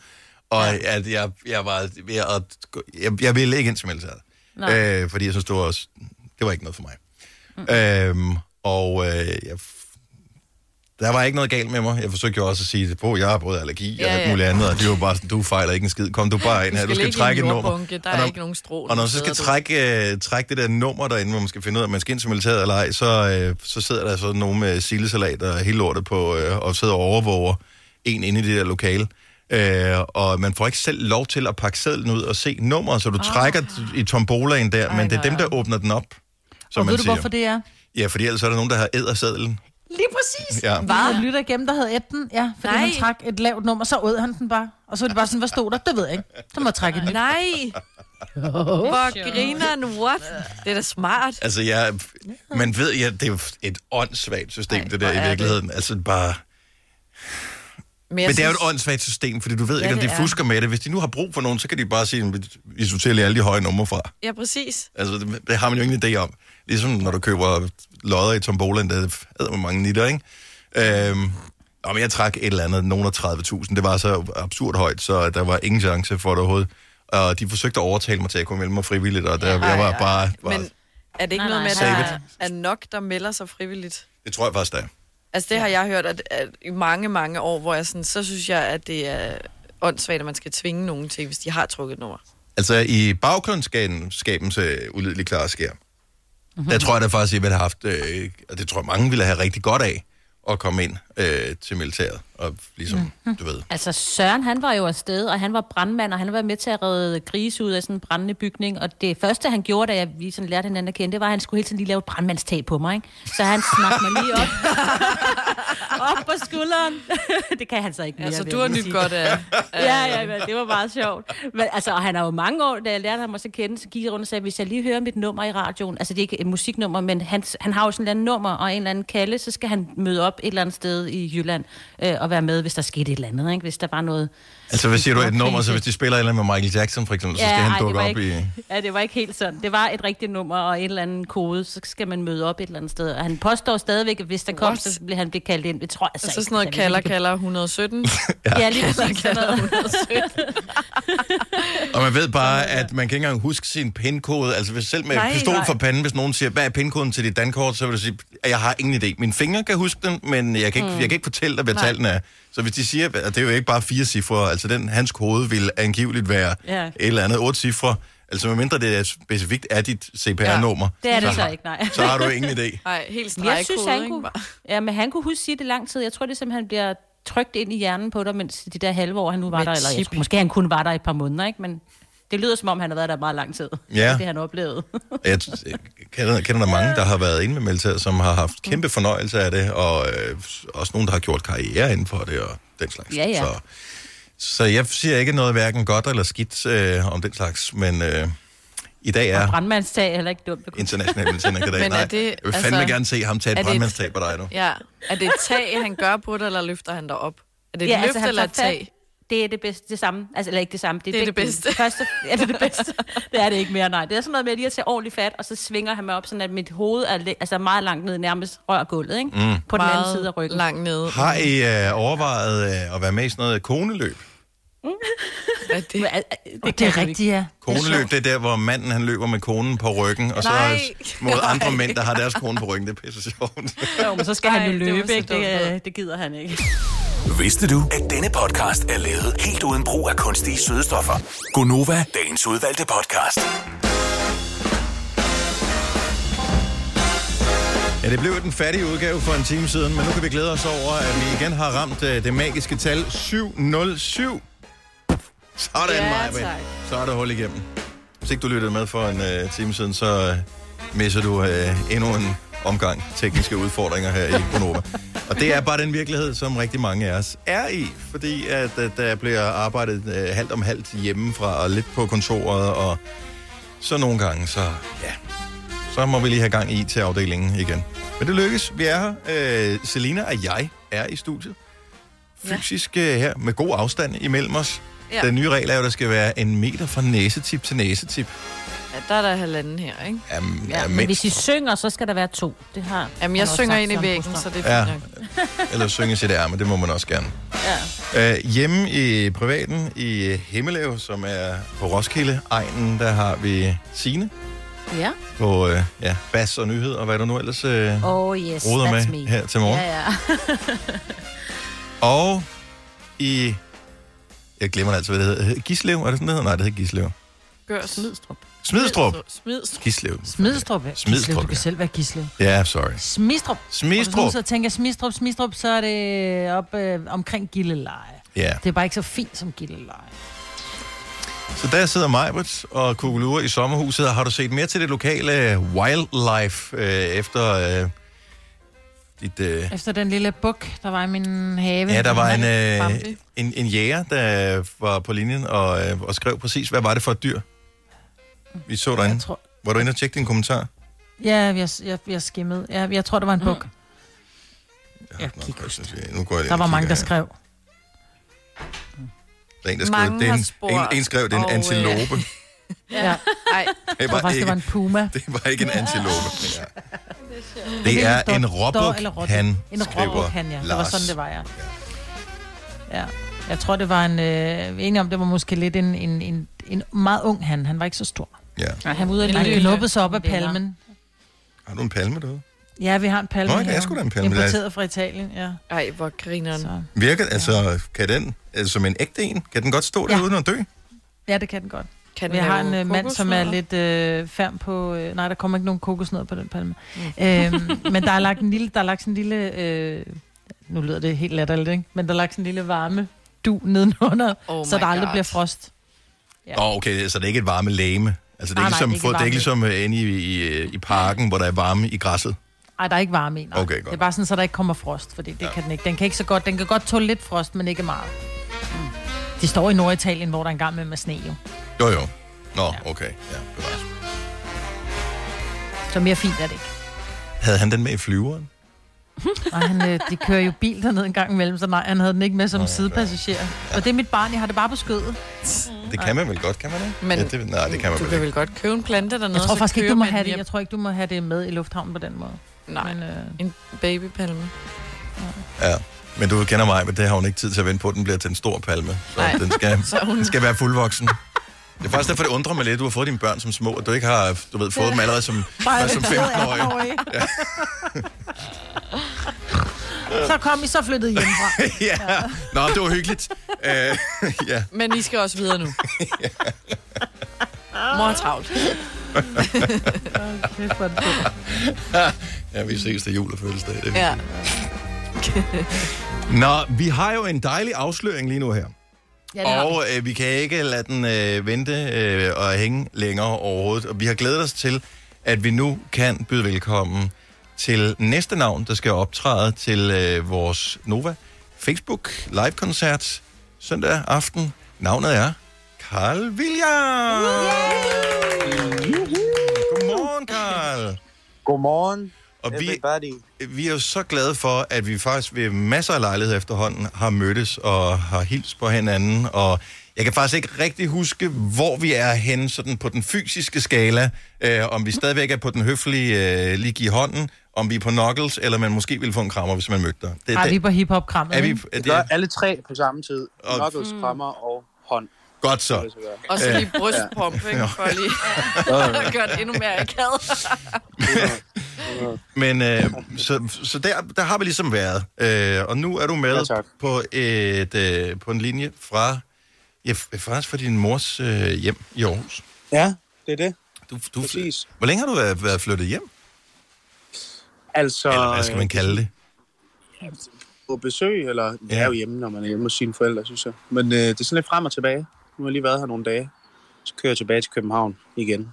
S1: og ja. at jeg, jeg var ved at... gå- Jeg, jeg ville ikke ind til militæret.
S5: Nej.
S1: Øh, fordi jeg synes, det var, også, det var ikke noget for mig. Mm. Øhm, og øh, jeg, der var ikke noget galt med mig. Jeg forsøgte jo også at sige det på. Jeg har både allergi ja,
S3: Ja,
S1: og alt
S3: ja.
S1: muligt andet, og det var bare sådan, du fejler ikke en skid. Kom du bare ind her, du skal
S3: ligge i en
S1: trække et nummer.
S3: jordbunke, Der
S1: Og
S3: er
S1: når-
S3: ikke nogen strå.
S1: og når man så skal trække, øh, trække det der nummer derinde, hvor man skal finde ud af, om man skal ind til militæret eller ej, så, øh, så sidder der sådan nogen med sildesalat og hele lortet på, øh, og sidder og overvåger en inde i det der lokale. Øh, og man får ikke selv lov til at pakke sedlen ud og se nummeret, så du oh. trækker t- i tombolaen der, men det er dem, der åbner den op, som
S7: Og
S1: man
S7: ved du,
S1: siger.
S7: hvorfor det er?
S1: Ja, fordi ellers er der nogen, der har æder sedlen.
S7: Lige præcis.
S1: Ja.
S7: Vi havde lytter igennem, der havde ætten. Ja, fordi
S3: Nej.
S7: Nej. han *laughs* trak et lavt nummer, så åd han den bare. Og så var det bare sådan, hvad stod der? Det ved jeg ikke. Så må jeg trække et nyt.
S3: Nej, Hvor grineren, what? Det er da smart.
S1: Altså, jeg, man ved, ja, det er jo et åndssvagt system, Ej, det der
S3: hvor er
S1: i
S3: det.
S1: virkeligheden. Altså, bare... Men, men det er jo et åndssvagt system, fordi du ved
S3: Ja,
S1: ikke, om
S3: det
S1: de
S3: er.
S1: fusker med det. Hvis de nu har brug for nogen, så kan de bare sige, vi sorterer lige alle de høje numre fra.
S3: Ja, præcis.
S1: Altså, det, det har man jo ingen idé om. Ligesom når du køber lodder i Tombolaen, der havde man mange nitter, ikke? Øhm, om jeg trak et eller andet, nogen af 30.000, det var så absurd højt, så der var ingen chance for det overhovedet. Og de forsøgte at overtale mig til, at jeg kunne melde mig frivilligt, og der, ja, jeg var bare... Var,
S3: Men er det ikke
S5: Nej,
S3: noget med, at
S5: nej.
S3: der
S1: Save
S3: er- er nok, der melder sig frivilligt?
S1: det tror jeg faktisk, der er.
S3: Altså, det har jeg hørt at, at i mange, mange år, hvor jeg sådan, så synes jeg, at det er åndssvagt, at man skal tvinge nogen til, hvis de har trukket et nummer.
S1: Altså, i baggrundsskabens øh, ulidelig klare skær,
S5: Mhm.
S1: der tror jeg da faktisk, at jeg ville have haft, øh, og det tror jeg mange ville have rigtig godt af, at komme ind øh, til militæret, og ligesom, du ved,
S5: Altså Søren, han var jo afsted, og han var brandmand, og han var med til at redde grise ud af sådan en brændende bygning. Og det første, han gjorde, da jeg, vi sådan lærte hinanden at kende, det var, at han skulle hele tiden lige lave et brandmandstag på mig. Ikke? Så han smakte mig lige op.
S7: *laughs*
S5: op på skulderen. *laughs* det kan han så ikke mere.
S3: Altså,
S5: vil
S3: du
S5: jeg
S3: har
S5: lige
S3: nyt
S5: sige.
S3: godt *laughs* af...
S5: Ja, ja, men det var meget sjovt. Men, altså, og han har jo mange år, da jeg lærte ham også at kende, så gik jeg rundt og sagde, hvis jeg lige hører mit nummer i radioen, altså det er ikke et musiknummer, men han, han har jo sådan et eller andet nummer og en eller anden kalde, så skal han møde op et eller andet sted i Jylland øh, og være med, hvis der skete et eller andet, ikke? hvis der var noget...
S1: Altså, hvad siger du?
S5: Det
S1: Et
S5: var
S1: nummer,
S5: krise.
S1: så hvis de spiller et eller andet med Michael Jackson, for eksempel, så skal han
S5: ej, det
S1: dukke
S5: var
S1: op
S5: ikke,
S1: i...
S5: Ja, det var ikke helt sådan. Det var et rigtigt nummer og en eller anden kode, så skal man møde op et eller andet sted. Og han påstår stadigvæk, at hvis der kom,
S3: What?
S5: så blev han blevet kaldt ind. Det tror jeg
S3: Så
S5: altså
S3: sådan noget
S5: ikke.
S3: kalder,
S1: *laughs*
S3: kalder 117.
S5: kalder. Ja, lige præcis sådan *laughs*
S3: kalder
S5: noget.
S3: 117.
S1: Og man ved bare, at man kan ikke engang huske sin pindkode. Altså, hvis selv med
S3: Nej,
S1: nej, pistol
S3: nej.
S1: for panden, hvis nogen siger, hvad er pindkoden til dit dankort, så vil du sige, at jeg har ingen idé. Mine fingre kan huske den, men jeg kan ikke, mm. jeg kan ikke fortælle dig, hvad tallene er. Så hvis de siger, og det er jo ikke bare fire cifre, altså den, hans kode vil angiveligt være
S5: Ja.
S1: ja. et eller andet otte cifre, altså medmindre det er specifikt er dit CPR-nummer.
S5: Det er det så
S1: har-
S5: ikke, nej.
S1: Så har du ingen idé.
S3: Nej, helt stregkode,
S5: Jeg synes, han
S3: ikke?
S5: kunne,
S3: Bare-
S5: ja, men han kunne huske sige det lang tid. Jeg tror, det er simpelthen, han bliver trygt ind i hjernen på dig, mens de der halve år, han nu var
S3: Med
S5: der. Eller jeg
S3: chip.
S5: tror, måske han kun var der i et par måneder, ikke? Men det lyder, som om han har været der meget lang tid. Det er Det han oplevede.
S1: Jeg t- kender, kender der mange, der har været inde med militæret, som har haft
S3: Mm.
S1: kæmpe fornøjelse af det, og øh, også nogen, der har gjort karriere inden for det og den slags.
S5: Ja, ja.
S1: Så, så jeg siger ikke noget hverken godt eller skidt øh, om den slags, men øh, i dag
S5: *laughs* Ja. Og
S1: er
S5: brandmandstag er heller ikke dumt. at kunne-
S1: international militær i dag.
S3: *laughs* Men er
S1: Nej,
S3: det-
S1: jeg vil fandme
S3: altså,
S1: gerne se ham tage et
S3: er det et-
S1: brandmandstab på dig nu.
S3: Ja. Er det et tag, han gør på dig, eller løfter han dig op? Er det et
S5: Ja,
S3: ja,
S5: altså,
S3: løft altså,
S5: han
S3: eller et
S5: tager fat-
S3: tag?
S5: Det er det bedste, det samme. Altså, eller ikke det samme.
S3: Det er det
S5: begge dele.
S3: bedste. *laughs*
S5: Første, ja, det er det bedste. Det er det ikke mere, nej. Det er sådan noget med lige at tage ordentligt fat, og så svinger han mig op, sådan at mit hoved er læ- altså meget langt ned, nærmest rør gulvet, ikke? Mm. På den anden
S3: Meget
S5: side af ryggen.
S3: Langt nede.
S1: Har I øh, overvejet øh, at være med i sådan noget koneløb?
S3: Er
S7: *laughs*
S3: det?
S5: Men, al- al- kan
S7: Det, det
S5: jeg
S7: er
S5: jo ikke.
S7: rigtigt, ja.
S1: Koneløb, det er der, hvor manden han løber med konen på ryggen, og så
S3: *laughs* Nej.
S1: mod andre mænd, der har deres kone på ryggen. Det er pisse sjovt.
S5: Jo, men så skal
S3: Ej,
S5: han jo
S3: det var
S5: løbe,
S3: så
S5: ikke?
S3: dumt.
S5: Det, øh, det gider han ikke.
S6: Vidste du,
S9: at
S6: denne podcast er lavet helt uden brug af kunstige sødestoffer? Gonova, dagens udvalgte podcast.
S1: Ja, det blev den fattige udgave for en time siden, men nu kan vi glæde os over, at vi igen har ramt uh, det magiske tal 707. Sådan,
S3: Ja,
S1: Maja.
S3: tak.
S1: Så er der hul igennem. Hvis ikke du lyttede med for en uh, time siden, så uh, misser du uh, endnu en omgang tekniske udfordringer her i Bonova. Og det er bare den virkelighed, som rigtig mange af os er i, fordi at, at der bliver arbejdet uh, halvt om halvt hjemmefra og lidt på kontoret, og så nogle gange, så ja, så må vi lige have gang i til afdelingen igen. Men det lykkes. Vi er her. Øh, Selina og jeg er i studiet.
S3: Ja.
S1: Fysisk øh, her, med god afstand imellem os.
S3: Ja.
S1: Ja. Den nye regel er jo, at der skal være en meter fra næsetip til næsetip.
S3: Ja, der er der halvanden her, ikke?
S1: Jamen,
S5: Ja, men
S1: mindst.
S5: hvis I synger, så skal der være to. Det har
S3: Jamen,
S5: han
S3: jeg
S5: også
S3: synger
S5: sagt,
S3: ind i
S5: Søren
S3: væggen,
S5: Brostrøm.
S3: så det er
S1: Ja.
S3: fint nok.
S1: Eller synge sit ærme, det må man også gerne. Ja. Øh, hjemme i privaten i Himmelev, som er på Roskilde egnen, der har vi Sine
S5: *laughs* Ja.
S1: på øh, ja, bas og nyhed, og hvad du nu ellers øh,
S5: Oh yes,
S1: roder
S5: that's
S1: med
S5: me.
S1: her til morgen.
S5: Ja, ja.
S1: Og i... Jeg glemmer altså, hvad det hedder. Gislev, er det sådan, det hedder? Nej, det hedder Gislev.
S3: Gør
S5: Smidstrup.
S1: Smidstrup.
S3: Smidstrup.
S1: Gislev.
S7: Smidstrup, ja.
S1: Smidstrup,
S7: Gislev, Du kan
S1: ja.
S7: selv være gislev.
S1: Ja, sorry.
S7: Smidstrup. Og hvis
S1: Smidstrup.
S7: du så tænker Smidstrup, Smidstrup, så er det op øh, omkring Gilleleje.
S1: Ja.
S7: Det er bare ikke så fint som Gilleleje.
S1: Så der sidder Majbert og Kugelure i sommerhuset. Har du set mere til det lokale wildlife øh, efter øh, dit... Øh,
S7: Efter den lille buk, der var i min have.
S1: Ja, der var en, øh,
S3: Bambi.
S1: en, en jæger, der var på linjen og, øh, og skrev præcis, hvad var det for et dyr. vi så derinde.
S7: tror-
S1: Var du inde og tjekke din kommentar?
S7: Ja, jeg, jeg, jeg skimmede. Jeg, jeg tror, der var en buk.
S1: Mm. Jeg kan ikke huske det. altså, Nu går jeg
S7: Der var mange, der
S1: skrev.
S7: skrev.
S1: Der er en, der skrev,
S7: Mange
S1: det er
S7: har
S1: en, en,
S7: spurgt,
S1: en skrev, det er en
S7: og, øh,
S1: antilope.
S7: Ja.
S3: Nej.
S7: Jeg tror faktisk, det var en puma.
S1: Det var ikke en antilope. Ja.
S7: Jeg ved
S1: Det er
S7: ikke, om
S1: en
S7: står- står eller
S1: råbuk,
S7: råbuk.
S1: han
S7: En
S1: skriver
S7: råbuk, han, ja. Det var
S1: Lars.
S7: sådan, det var, ja. Ja. Jeg tror, det var en... Øh, enig om, det var måske lidt en, en, en, en meget ung han. Han var ikke så stor.
S1: Ja.
S7: Nej, han var ude
S5: Lille,
S7: af lille.
S5: lille.
S7: Han sig op af
S5: Vinder.
S7: palmen.
S1: Har du en palme derude?
S7: Ja, vi har en palme
S1: Nå, ja,
S7: i
S1: det er
S7: haven.
S1: sgu da en palme.
S7: Importeret fra Italien, ja.
S3: Ej, hvor grineren. Så.
S1: Virker, altså, kan den, altså, som en ægte en, kan den godt stå der
S7: Ja.
S1: uden at dø?
S7: Ja, det kan den godt.
S3: Kan
S7: vi
S3: den
S7: har
S3: lave
S7: en øh, mand, som er
S3: kokosnødder? Mm.
S7: lidt øh, færm på... Øh, nej, der kommer ikke nogen kokosnød på den palme. øhm, men der er lagt en lille... Der er lagt sådan en lille øh, nu lyder det helt latterligt, ikke? Men der er lagt sådan en lille varme du nedenunder,
S3: Oh
S7: oh så
S3: my
S7: der aldrig
S3: God.
S7: bliver frost.
S1: Ja. Nå, okay, så det er ikke et varme læme. Altså, det er
S7: Nej,
S1: ikke
S7: nej,
S1: som,
S7: det er ikke
S1: fod-
S7: et
S1: det er ikke ligesom øh, inde i, i, i parken, hvor der er varme i græsset.
S7: Ej, der er ikke varme i, nej.
S1: Okay, godt.
S7: Det er bare sådan, så der ikke kommer frost, fordi det ja. kan den ikke. Den kan ikke så godt. Den kan godt tåle lidt frost, men ikke meget.
S3: Mm.
S7: De står i Norditalien, hvor der engang med med sne jo.
S1: Jo, jo. Nå, okay. Ja, bevares.
S7: Så mere fint er det ikke.
S1: Havde han den med i flyveren?
S7: *laughs* Og han, øh, de kører jo bil dernede en gang imellem, så nej, han havde den ikke med som
S1: Nå,
S7: Nå,
S1: ja,
S7: sidepassager. Og det er mit barn, jeg har det bare på skødet.
S3: Mm.
S1: Det kan man vel godt, kan man ikke?
S3: Men
S1: ja, det, nej, det kan man
S3: Du
S1: vel
S3: kan
S1: ikke.
S3: vel godt købe en plante dernede,
S7: Jeg tror
S3: så
S7: faktisk ikke,
S3: kører
S7: du må
S3: man
S7: have det.
S3: hjem.
S7: Jeg tror ikke, du må have det med i lufthavnen på den måde.
S3: Nej,
S7: Men, øh,
S3: en babypalme.
S1: Ja. Men du kender mig, men det har hun ikke tid til at vente på. Den bliver til en stor palme. Så
S3: Nej.
S1: den skal,
S3: Så hun-
S1: den skal være fuldvoksen. Det er faktisk derfor, det undrer mig lidt, du har fået dine børn som små, og du ikke har du ved, fået dem allerede som,
S7: Bare
S1: som
S7: lidt bedre
S1: 15-årig.
S7: attenårige.
S1: Ja.
S7: *laughs* så kom I så flyttede hjemmefra.
S1: *laughs* ja. Nå, det var hyggeligt. Øh, *laughs* ja.
S3: Men I skal også videre
S10: *laughs*
S3: nu. Mor er travlt.
S7: Kæft, hvor er det fedt.
S1: ja, vi ses til jul og fødselsdag. Det er
S3: Ja. *laughs*
S1: Nå, vi har jo en dejlig afsløring lige nu her.
S7: Ja, det har vi.
S1: Og øh, vi kan ikke lade den øh, vente øh, og hænge længere overhovedet. Og vi har glædet os til, at vi nu kan byde velkommen til næste navn, der skal optræde til øh, vores Nova Facebook live-koncert søndag aften. Navnet er Carl William. Godmorgen, Carl.
S10: Godmorgen.
S1: Og vi,
S10: Everybody.
S1: vi er jo så glade for, at vi faktisk ved masser af lejligheder efterhånden har mødtes og har hilst på hinanden. Og jeg kan faktisk ikke rigtig huske, hvor vi er henne sådan på den fysiske skala. Øh, om vi stadigvæk er på den høflige øh, lige give hånden, om vi er på knuckles, eller man måske ville få en krammer, hvis man mødte dig. Det,
S7: Ej,
S1: det-
S7: vi er på hiphop-krammet.
S1: er vi,
S7: ikke? Mm.
S1: er
S10: Det er
S1: det,
S10: alle tre på samme tid.
S1: Og-
S10: Knuckles, krammer og hånd.
S1: godt
S10: kan det
S1: så.
S10: så være.
S3: Og så lige brystpump, ikke? For lige *laughs* at gøre det endnu
S10: *laughs*
S3: mere akavet.
S1: Men øh, så, så der, der har vi ligesom været. Øh, og nu er du med
S10: Ja, tak.
S1: på, et, øh, på en linje fra, ja, f- faktisk fra din mors øh, hjem i Aarhus.
S10: Ja, det er det.
S1: Du, du,
S10: Præcis.
S1: Hvor længe har du været, været flyttet hjem?
S10: Altså,
S1: Eller hvad skal man kalde det?
S10: på besøg, eller jeg
S1: Ja.
S10: er jo hjemme, når man er hjemme hos sine forældre, synes jeg. Men øh, det er sådan lidt frem og tilbage. Nu har jeg lige været her nogle dage. Så kører jeg tilbage til København igen.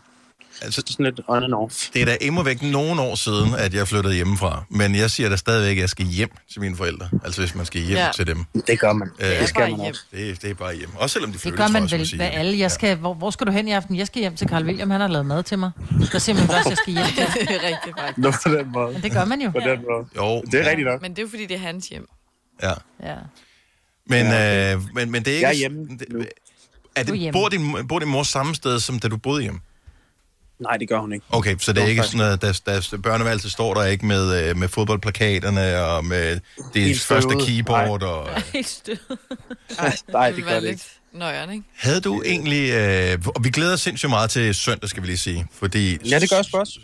S1: Altså,
S10: Det er sådan lidt on and off.
S1: det er da imod væk nogle år siden, at jeg flyttede hjemmefra. Men jeg siger da stadigvæk, at jeg skal hjem til mine forældre. Altså hvis man skal hjem ja.
S3: Ja.
S1: til dem.
S10: Det gør man.
S1: Øh,
S3: Jeg
S10: Det
S3: er
S10: skal
S3: bare
S10: man
S3: hjem.
S10: også.
S1: det, det er bare hjem. Også selvom de
S7: Det
S1: flytter,
S7: gør
S1: tror
S7: man
S1: jeg, skal
S7: vel,
S1: sige.
S7: hvad alle. Jeg skal, hvor, hvor skal du hen i aften? Jeg skal hjem til Carl William, han har lavet mad til mig. Der siger man først, jeg skal hjem til.
S3: Det er rigtig faktisk.
S10: Nå, på den måde.
S7: Men det gør man jo.
S10: På den måde.
S1: Jo,
S10: Det er rigtigt nok.
S3: Men det er jo, fordi, det er hans hjem.
S1: ja.
S7: Ja.
S1: Men, ja. Øh, men, men det er ikke...
S10: Jeg er hjemme nu.
S1: Er
S7: Du er
S1: det,
S7: hjemme.
S1: bor, din, bor din mor samme sted, som da du boede hjemme?
S10: Nej, det gør hun ikke.
S1: Okay, så det er
S10: Jo,
S1: ikke
S10: faktisk.
S1: sådan noget, der, der børneværelset står der ikke med, øh, med fodboldplakaterne og med det
S10: Helt
S1: første
S10: støvet.
S1: keyboard. Og, *laughs*
S5: Helt stød.
S10: Nej,
S3: Det
S10: det
S3: vil
S10: gør
S3: være
S10: det ikke.
S3: lidt nøjeren, ikke?
S1: Havde du egentlig... Øh, og vi glæder os sindssygt meget til søndag, skal vi lige sige. Fordi
S10: Ja, det gør os også.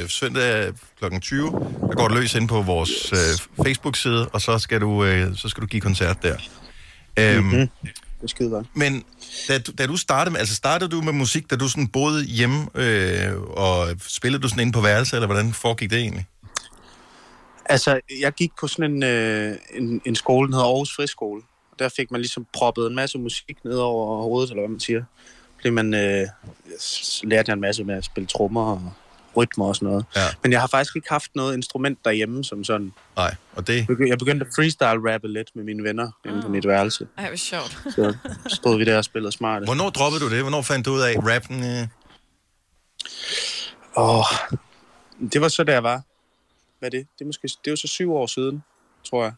S1: øh, søndag kl. 20, der går det løs ind på vores øh, Facebook-side, og så skal, du, øh, så skal du give koncert der. Øhm, mm-hmm.
S10: Mhm. Det er skide godt.
S1: Men da, du- da du startede med, altså startede du med musik, da du sådan boede hjemme, øh, og spillede du sådan inde på værelset, eller hvordan foregik det egentlig?
S10: Altså, jeg gik på sådan en, øh, en, en skole, den hedder Aarhus Friskole. Og der fik man ligesom proppet en masse musik ned over hovedet, eller hvad man siger. Fordi man øh, s- lærte jeg en masse med at spille trommer og rytmer og sådan noget.
S1: Ja.
S10: Men jeg har faktisk ikke haft noget instrument derhjemme som sådan.
S1: Nej, og det...
S10: Begy- Jeg begyndte at freestyle-rappe lidt med mine venner inde på mit værelse.
S3: Ej, hvor sjovt.
S10: Så stod vi der og spillede smarte.
S1: Hvornår droppede du det? Hvornår fandt du ud af rappen? Øh?
S10: Åh, det var så, da jeg var... Hvad er det? Det, er måske, det var så syv år siden, tror jeg.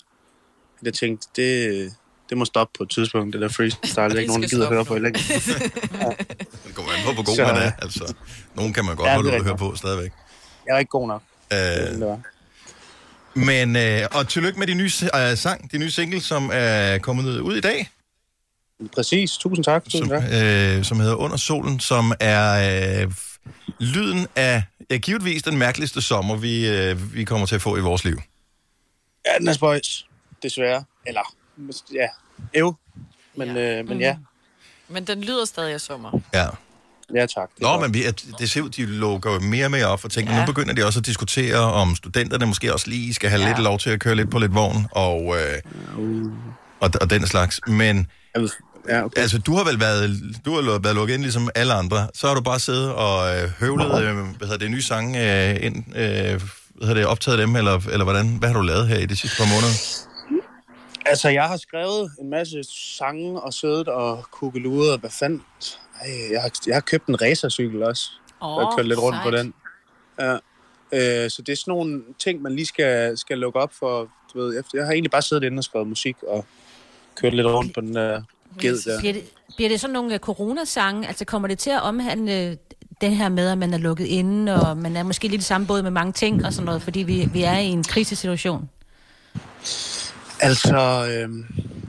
S10: At jeg tænkte, det, det må stoppe på et tidspunkt, *laughs* det der freestyle. Der er ikke nogen, der gider høre på i længden.
S1: Det kommer an på, hvor god
S10: Så-
S1: man er. Altså, nogen kan man godt
S10: Ja,
S1: ja,
S10: det er
S1: holde ud at høre
S10: rigtigt.
S1: på stadigvæk.
S10: Jeg er ikke god nok.
S1: Øh, men, øh, og tillykke med din nye øh, sang, din nye single, som er kommet ud i dag.
S10: Præcis, tusind tak.
S1: Som, øh, som hedder Under Solen, som er øh, lyden af ja, givetvis den mærkeligste sommer, vi, øh, vi kommer til at få i vores liv.
S10: Ja, den er spøjs, desværre. Eller, mås- ja, ev. Men ja, øh, men ja.
S3: Men den lyder stadig af sommer.
S1: Ja.
S10: Ja, tak.
S1: Nå, men vi, at- det ser ud, de lukker jo mere og mere op for tingene. Ja. Nu begynder de også at diskutere, om studenterne måske også lige skal have ja. lidt lov til at køre lidt på lidt vogn, og, øh, og, og den slags. Men
S10: ja, okay.
S1: altså, du har vel været, du har lu- været lukket ind ligesom alle andre. Så har du bare siddet og øh, høvlet øh, hvad hedder det, nye sange øh, ind, øh, hvad hedder det, optaget dem, eller, eller hvordan? Hvad har du lavet her i de sidste par måneder?
S10: Altså, jeg har skrevet en masse sange og siddet og kukkeluret og hvad fanden. Ej, jeg, har, jeg har købt en racercykel også.
S11: Åh,
S10: Oh, jeg har kørt lidt rundt på
S11: sejt.
S10: den. Ja. Øh, så det er sådan nogle ting, man lige skal, skal lukke op for. Du ved, efter- jeg har egentlig bare siddet inde og skrevet musik og kørt lidt rundt på den der ged der.
S5: Bliver det, bliver det sådan nogle øh, coronasange? Altså kommer det til at omhandle den her med, at man er lukket inde, og man er måske lidt i samme båd med mange ting og sådan noget, fordi vi, vi er i en krisesituation?
S10: Altså, øh,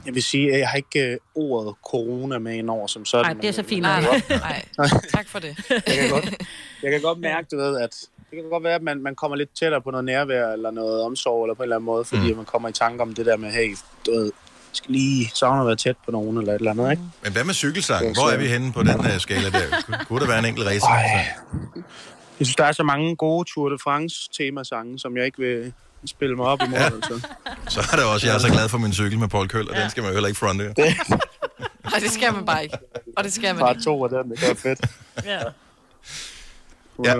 S10: jeg vil sige, at jeg har ikke øh, ordet corona med ind over som sådan.
S5: Nej, det er
S10: men-
S5: så fint.
S10: men-
S5: Nej,
S3: nej, tak for det.
S10: Jeg kan godt, jeg kan godt mærke, du ved, at det kan godt være, at man, man kommer lidt tættere på noget nærvær eller noget omsorg eller på en eller anden måde, fordi mm. man kommer i tanke om det der med, hey, du ved, jeg skal lige savne at være tæt på nogen eller et eller andet, ikke?
S1: Men hvad med cykelsangen? Hvor er vi henne på den øh, skala der? Kunne- Kunne der være en enkelt racer?
S10: Jeg synes, der er så mange gode Tour de France temasange, som jeg ikke vil spille mig op imod. Ja. Altså.
S1: Så er det også, jeg er så glad for min cykel med Paul Køller. Den skal man jo heller ikke fronte.
S3: Og det skal man bare ikke. Og det skal man
S10: Bare
S3: ikke.
S10: to af dem, det gør fedt.
S3: Ja.
S1: Ja.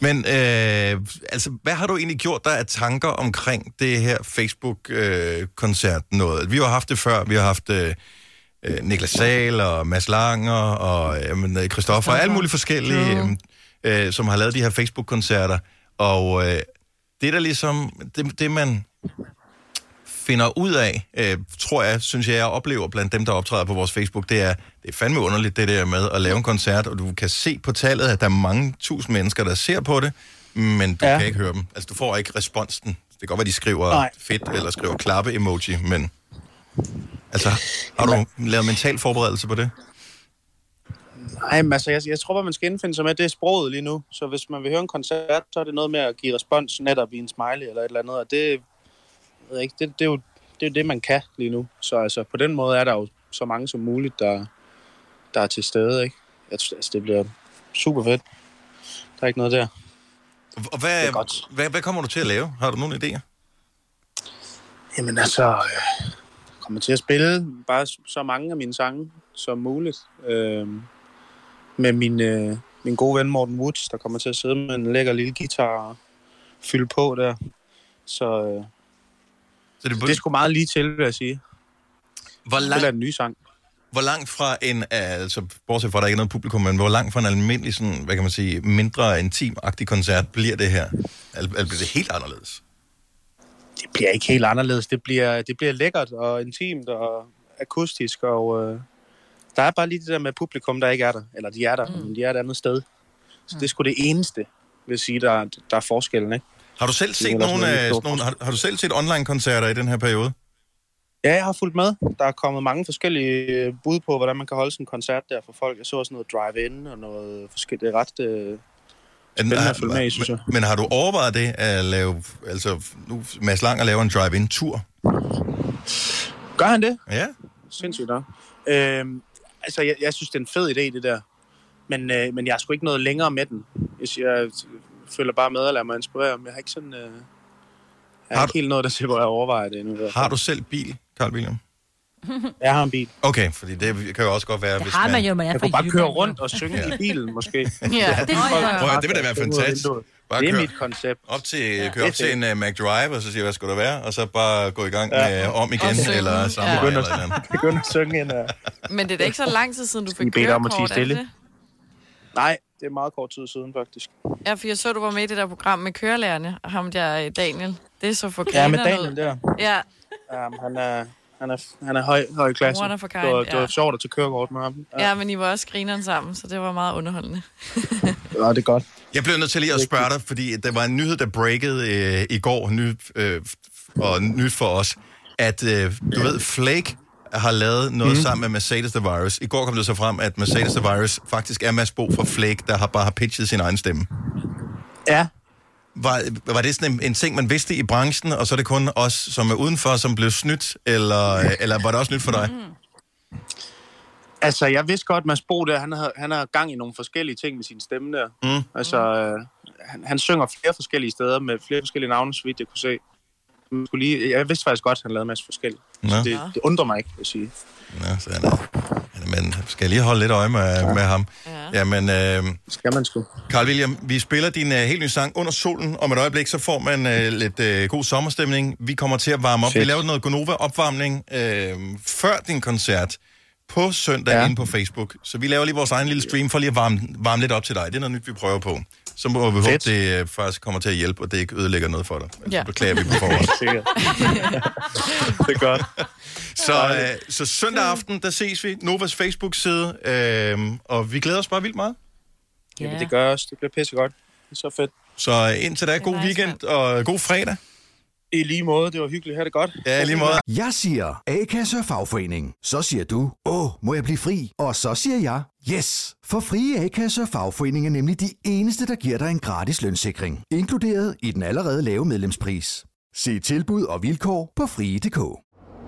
S1: Men øh, altså, hvad har du egentlig gjort der af tanker omkring det her Facebook-koncert øh, noget? Vi har haft det før. Vi har haft øh, øh, Niklas Sahl og Mads Langer og øh, men, øh, Christoffer og alle mulige forskellige, øh, øh, som har lavet de her Facebook-koncerter. Og øh, det der ligesom, det, det man finder ud af, øh, tror jeg, synes jeg, jeg oplever blandt dem, der optræder på vores Facebook, det er, det er fandme underligt, det der med at lave en koncert, og du kan se på tallet, at der er mange tusind mennesker, der ser på det, men du ja. kan ikke høre dem. Altså, du får ikke responsen. Det kan godt være, de skriver Nej.
S10: Nej.
S1: fedt, eller skriver klappe-emoji, men... Altså, har du lavet mental forberedelse på det?
S10: Nej, men altså, jeg, jeg tror bare, man skal indfinde sig med, at det er sproget lige nu. Så hvis man vil høre en koncert, så er det noget med at give respons netop i en smiley eller et eller andet. Og det, jeg ved ikke, det, det, er, jo, det er jo det, man kan lige nu. Så altså, på den måde er der jo så mange som muligt, der, der er til stede. Ikke? Jeg, tror, altså, det bliver super fedt. Der er ikke noget der.
S1: Og hvad, hvad, hvad kommer du til at lave? Har du nogle idéer?
S10: Jamen altså, øh, jeg kommer til at spille bare s- så mange af mine sange som muligt. Øh, med min, øh, min gode ven Morten Woods, der kommer til at sidde med en lækker lille guitar og fylde på der. Så, øh,
S1: så det,
S10: det er sgu meget lige til, vil jeg sige.
S1: Hvor
S10: Spiller
S1: langt-
S10: en ny sang.
S1: Hvor langt fra en, altså bortset fra, at der ikke er noget publikum, men hvor langt fra en almindelig, sådan, hvad kan man sige, mindre intim-agtig koncert bliver det her? Eller eller bliver det helt anderledes?
S10: Det bliver ikke helt anderledes. Det bliver, det bliver lækkert og intimt og akustisk. Og øh, der er bare lige det der med publikum, der ikke er der. Eller de er der, mm. men de er et andet sted. Så det er sgu det eneste, vil jeg sige, der, der er forskellen. Ikke?
S1: Har du selv
S10: Det er
S1: set
S10: vel også
S1: nogle,
S10: noget, vi
S1: af,
S10: står
S1: sådan nogle har, har du selv set online-koncerter i den her periode?
S10: Ja, jeg har fulgt med. Der er kommet mange forskellige øh, bud på, hvordan man kan holde sådan en koncert der for folk. Jeg så også noget drive-in og noget forskelligt. Det er ret øh, spændende at følge med i, synes jeg.
S1: men, men har du overvejet det at lave, altså nu Mads Langer laver en drive-in-tur?
S10: Gør han det?
S1: Ja.
S10: Sindssygt nok. Øhm, altså, jeg, jeg synes, det er en fed idé, det der. Men, øh, men jeg er sgu ikke noget længere med den. Jeg, siger, jeg føler bare med at lade mig inspirere, men jeg har ikke sådan... Øh, jeg har, ikke helt noget, der siger, hvor jeg overvejer det endnu.
S1: *laughs* Har du selv bil, Carl William?
S10: Jeg har en bil.
S1: Okay, fordi det kan jo også godt være, det hvis
S5: har man jo, man er
S10: jeg
S5: fra
S10: kunne bare
S5: Jylland,
S10: køre
S5: jo.
S10: rundt og synge i bilen, måske.
S1: *laughs* Ja, det er- Prøv at- det vil da være fantastisk. Bare
S10: det er
S1: kør.
S10: mit koncept.
S1: Op til,
S10: Ja.
S1: køre op til en uh, McDrive, og så siger, hvad skulle der være? Og så bare gå i gang
S10: Ja.
S1: med uh, om igen,
S10: Og synge.
S1: eller
S10: Ja.
S1: samme ja.
S10: Begynde
S1: eller
S10: at-
S1: et
S10: *laughs*
S1: eller andet.
S10: Begynde at synge ind. Uh...
S3: Men det er da ikke så lang tid siden, du
S10: Vi
S3: fik
S10: beder dig om at
S3: kørekort,
S10: tie
S3: er det
S10: stille.
S3: det?
S10: Nej, det er meget kort tid siden faktisk.
S3: Ja, for jeg så, du var med i det der program med kørelærerne, og ham der øh, Daniel. Det er så for
S10: Ja, med
S3: grineren ud.
S10: Daniel der.
S3: Ja,
S10: Um, han er, han er, han er høj, høj klasse.
S3: One of a kind,
S10: det var, det
S3: ja.
S10: var sjovt at tage kørekort med ham.
S3: ja, men I var også grineren sammen, så det var meget underholdende.
S10: Ja, det er godt.
S1: Jeg blev nødt til lige at spørge dig, fordi øh, der var en nyhed, der breakede øh, i går, ny, øh, f- og nyt for os, at øh, du ved, Flake har lavet noget
S10: Mhm.
S1: mm. sammen med Mercedes The Virus. I går kom det så frem, at Mercedes The Virus faktisk er Mads Bo fra Flake, der har bare har pitchet sin egen stemme.
S10: Ja.
S1: Var, var det sådan en, en ting, man vidste i branchen, og så er det kun os, som er udenfor, som blev snydt, eller, øh, eller var det også nyt for dig?
S10: Altså, jeg vidste godt, at Mads Bo der, han har, han har gang i nogle forskellige ting med sin stemme der.
S1: Mm.
S10: Altså, øh, han, han synger flere forskellige steder med flere forskellige navne, så vidt jeg kunne se. Man skulle lige, jeg vidste faktisk godt, at han lavede en masse forskellige. Så
S1: Nå.
S10: det, det undrer mig ikke, vil jeg sige.
S1: Ja, så han er, han er, men skal jeg lige holde lidt øje med, ja. med ham? Ja. Jamen, øh,
S10: skal man sgu.
S1: Carl William, vi spiller din øh, helt nye sang Under solen. Om et øjeblik, så får man øh, lidt øh, god sommerstemning. Vi kommer til at varme op. Fedt.
S10: Fedt.
S1: Vi laver noget Gonova-opvarmning øh, før din koncert på søndag ja. inde på Facebook. Så vi laver lige vores egen lille stream for lige at varme, varme lidt op til dig. Det er noget nyt, vi prøver på. Så må vi håbe,
S10: Fedt.
S1: det øh, faktisk kommer til at hjælpe, og det ikke ødelægger noget for dig. Ja.
S10: Ja.
S1: Så beklager vi på *laughs* forhånd.
S10: Sikkert. det er godt.
S1: *laughs* Så, øh, så søndag aften, der ses vi. Novas Facebook-side. Øh, og vi glæder os bare vildt meget.
S10: Ja. Jamen, det gør også. Det bliver pissegodt. Det er så fedt.
S1: Så indtil da, god weekend og god fredag.
S10: I lige måde. Det var hyggeligt. Ha' det godt.
S1: Ja, lige måde.
S8: Jeg siger A-kasse og fagforening. Så siger du, åh, må jeg blive fri? Og så siger jeg, yes! For frie A-kasse og fagforening er nemlig de eneste, der giver dig en gratis lønssikring. Inkluderet i den allerede lave medlemspris. Se tilbud og vilkår på frie.dk.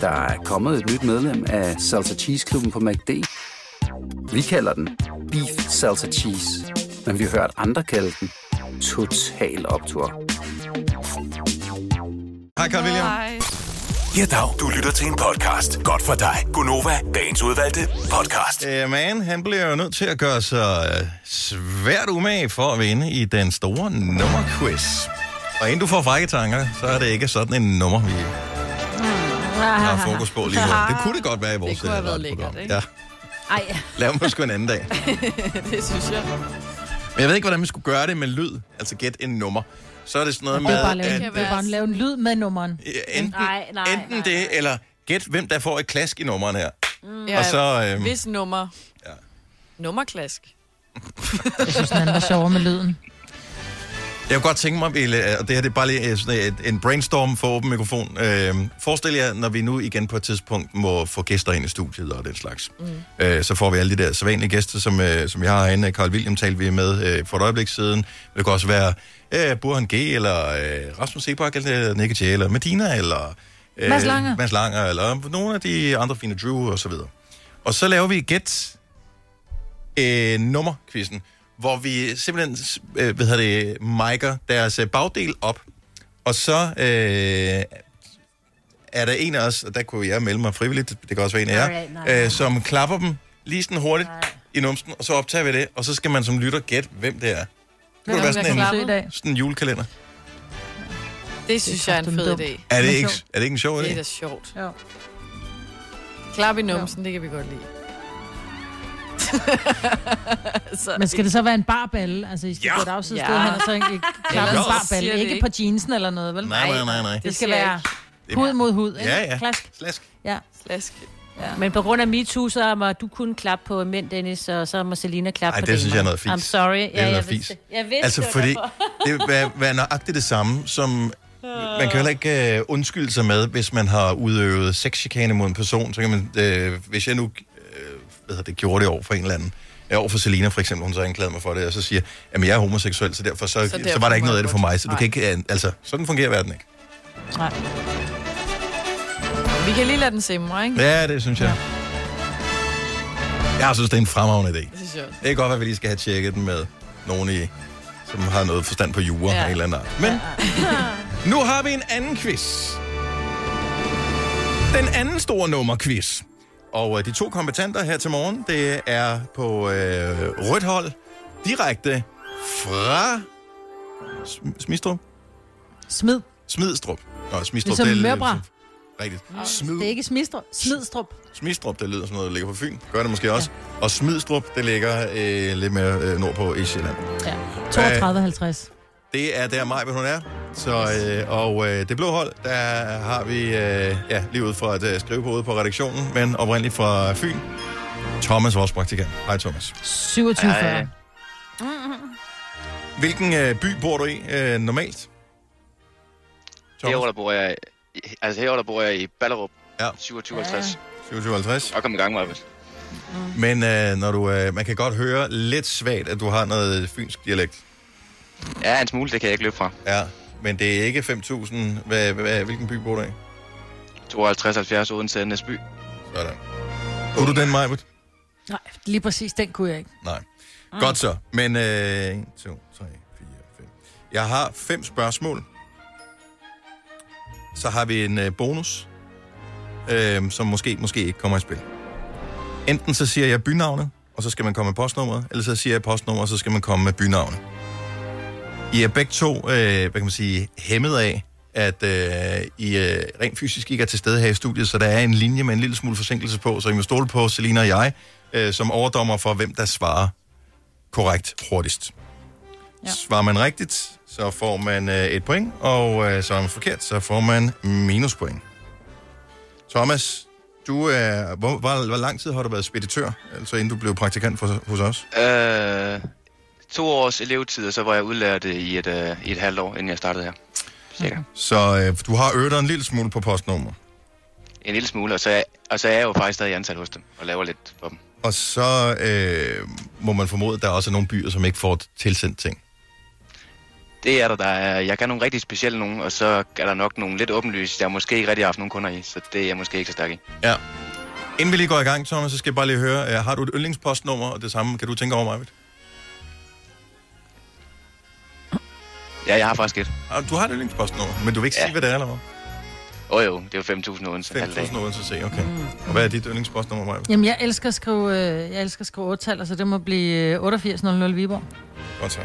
S11: Der er kommet et nyt medlem af Salsa Cheese Klubben på MACD. Vi kalder den Beef Salsa Cheese, men vi har hørt andre kalde den Total Optor.
S1: Hej Carl William.
S3: Hej.
S6: Ja, dag. Du lytter til en podcast. Godt for dig. Gunova, dagens udvalgte podcast.
S1: Uh, man, han bliver jo nødt til at gøre sig øh, svært umage for at vinde i den store nummerquiz. Og inden du får frække tanker, så er det ikke sådan en nummer, vi
S3: Ah,
S1: har fokus på lige nu.
S3: *laughs*
S1: Det kunne det godt være i vores
S3: Det kunne have været
S1: øh,
S3: lækkert,
S1: radioprogram.
S3: ikke?
S1: Ja,
S5: Ej,
S1: lav mig sgu en anden dag.
S3: *laughs* det synes jeg.
S1: Men jeg ved ikke, hvordan man skulle gøre det med lyd. Altså gæt en nummer. Så er det sådan *laughs* noget
S7: Det er bare at
S1: med,
S7: lave, en, det er bare at lave en lyd med nummeren.
S1: øh, enten,
S5: Nej, nej,
S1: enten det, eller gæt, hvem der får et klask i nummeren her.
S3: Ja,
S1: Og så, øhm,
S3: Hvis nummer. Ja.
S1: *laughs*
S3: Nummerklask.
S7: Jeg synes, den anden var sjovere med lyden.
S1: Jeg kunne godt tænke mig, Ville, og det her det er bare lige øh, sådan et, en brainstorm for åben mikrofon. Øh, forestil jer, når vi nu igen på et tidspunkt må få gæster ind i studiet og den slags. Mm. Øh, så får vi alle de der sædvanlige gæster, som, øh, som jeg har herinde. Carl William talte vi med øh, for et øjeblik siden. Men Det kan også være øh, Burhan G, eller øh, Rasmus Sebak, eller Nicky J, eller Medina, eller... Øh,
S7: Mads Langer.
S1: Mads Langer, eller nogle af de andre fine Drew, og så videre. Og så laver vi gæt øh, nummerquizzen, hvor vi simpelthen øh, hvad hedder det, micer deres øh, bagdel op, og så øh, er der en af os, og der kunne jeg melde mig frivilligt, det kan også være en af jer,
S12: Alright, nej.
S1: øh, som klapper dem lige sådan hurtigt i numsen, og så optager vi det, og så skal man som lytter gætte, hvem det er. Det
S3: Hvem
S1: kunne være
S3: der
S1: sådan
S3: klapper?
S1: en, sådan en julekalender.
S3: Det synes jeg er en fed idé.
S1: Er det ikke, er det ikke en sjov
S3: Det er
S1: idé?
S3: da sjovt. Jo. Klap i numsen, det kan vi godt lide. så,
S7: Men skal det så være en barballe? Altså, I skal ja. gå et afsides
S3: Ja.
S7: sted hen, og så *laughs* ikke ikke klappe en
S1: Ellers
S7: barballe.
S1: siger det
S7: Ikke
S1: ikke.
S7: på jeansen eller noget, vel?
S1: Nej, nej, nej, nej.
S7: Det skal være
S1: Det-
S7: hud mod hud, ikke?
S1: Ja, ja.
S7: Klask.
S1: Slask.
S7: Ja.
S3: Slask.
S7: Ja.
S5: Men på grund af MeToo, så må du kun klappe på mænd, Dennis, og så må Selina klappe
S1: Ej,
S5: på
S1: det synes jeg er
S5: damer.
S1: noget fis.
S5: I'm sorry.
S1: Det er noget fis.
S5: det. Jeg vidste
S1: altså,
S5: det var
S1: fordi *laughs*
S5: derfor.
S1: det vil være nøjagtigt det samme, som man kan heller ikke øh, undskylde sig med, hvis man har udøvet sexchikane mod en person. Så kan man, øh, hvis jeg nu øh, hvad hedder det, gjorde det over for en eller anden, øh, over for Selina for eksempel, hun så anklagede mig for det, og så siger, at jeg er homoseksuel, så derfor, så, så,
S7: derfor
S1: derfor så var der ikke
S7: må
S1: noget af
S7: jeg
S1: det for
S7: godt.
S1: mig. Så du
S7: Nej.
S1: kan ikke, øh, altså, sådan fungerer verden ikke.
S7: Nej.
S3: Vi kan lige lade den simre, ikke?
S1: Ja, det synes jeg. Jeg synes, det er en fremragende idé.
S3: Det synes jeg også.
S1: Det kan godt være, at vi lige skal have tjekket den med nogen i som har noget forstand på jura ja.
S12: Ja.
S1: af en eller anden art. Men nu har vi en anden quiz. Den anden store nummer-quiz. Og øh, de to kompetenter her til morgen, det er på øh, rødt hold, direkte fra Sm- Smidstrup.
S7: Smid.
S1: Smidstrup. Nå, Smidstrup,
S7: Ligesom
S1: det er
S7: Mørbra.
S1: rigtigt.
S7: Smid. Det er ikke smidstrup. Smidstrup.
S1: Smidstrup, det lyder som noget, der ligger på Fyn. Gør det måske også. Ja. Og Smidstrup, det ligger øh, lidt mere øh, nordpå i Sjælland.
S7: Ja.
S1: Øh,
S7: 32,50.
S1: Det er der Maj, hun er. Så, øh, og øh, det blå hold, der har vi øh, ja, lige ud fra et øh, skrivebord på redaktionen, men oprindeligt fra Fyn. Thomas, vores praktikant. Hej Thomas.
S7: 27,40.
S1: Hvilken øh, by bor du i øh, normalt?
S13: Herover, der bor jeg, altså herover, der bor jeg i Ballerup.
S1: Ja.
S13: 2750.
S1: 57.
S13: Og kom i gang, Marvind.
S1: Men øh, når du, øh, man kan godt høre lidt svagt, at du har noget fynsk dialekt.
S13: Ja, en smule, det kan jeg ikke løbe fra.
S1: Ja, men det er ikke 5.000. Hvad, hvad, hvilken by bor du i?
S13: 52, 70, Odense, Næsby.
S1: Sådan. Kunne du den, Majbert?
S7: Nej, lige præcis den kunne jeg ikke.
S1: Nej. Godt så. Men øh, 1, 2, 3, 4, 5. Jeg har fem spørgsmål. Så har vi en øh, bonus, øh, som måske, måske ikke kommer i spil. Enten så siger jeg bynavnet, og så skal man komme med postnummeret, eller så siger jeg postnummeret, og så skal man komme med bynavnet. I er begge to, øh, hvad kan man sige, hæmmet af, at øh, I øh, rent fysisk ikke er til stede her i studiet, så der er en linje med en lille smule forsinkelse på, så I må stole på Selina og jeg, øh, som overdommer for, hvem der svarer korrekt hurtigst. Ja. Svarer man rigtigt, så får man øh, et point, og øh, svarer man forkert, så får man minuspoint. Thomas, du er, hvor, hvor, hvor lang tid har du været speditør, altså inden du blev praktikant for, hos os?
S13: Øh, to års elevtid, og så var jeg udlært øh, i et, øh, i et halvt år, inden jeg startede her. Cirka.
S1: Så øh, du har øvet dig en lille smule på postnummer.
S13: En lille smule, og så, er, og så er jeg jo faktisk stadig ansat hos dem, og laver lidt for dem.
S1: Og så øh, må man formode, at der også er nogle byer, som ikke får tilsendt ting.
S13: Det er der, der er, jeg kan nogle rigtig specielle nogen, og så er der nok nogle lidt åbenlyse, jeg måske ikke rigtig har haft nogen kunder i, så det er jeg måske ikke så stærk i.
S1: Ja. Inden vi lige går i gang, Thomas, så skal jeg bare lige høre, øh, har du et yndlingspostnummer, og det samme kan du tænke over, Marvitt?
S13: Ja, jeg har faktisk et.
S1: Ah, Du har et yndlingspostnummer, men du vil ikke ja. sige, hvad det er, eller hvad?
S13: Åh oh, jo, det er jo 5.000 Odense.
S1: 5.000 Odense, se, okay. Mm. Og hvad er dit yndlingspostnummer, Maja?
S7: Jamen, jeg elsker at skrive, øh, jeg elsker at skrive 8 så det må blive øh, 8800 Viborg. *laughs*
S1: Godt så.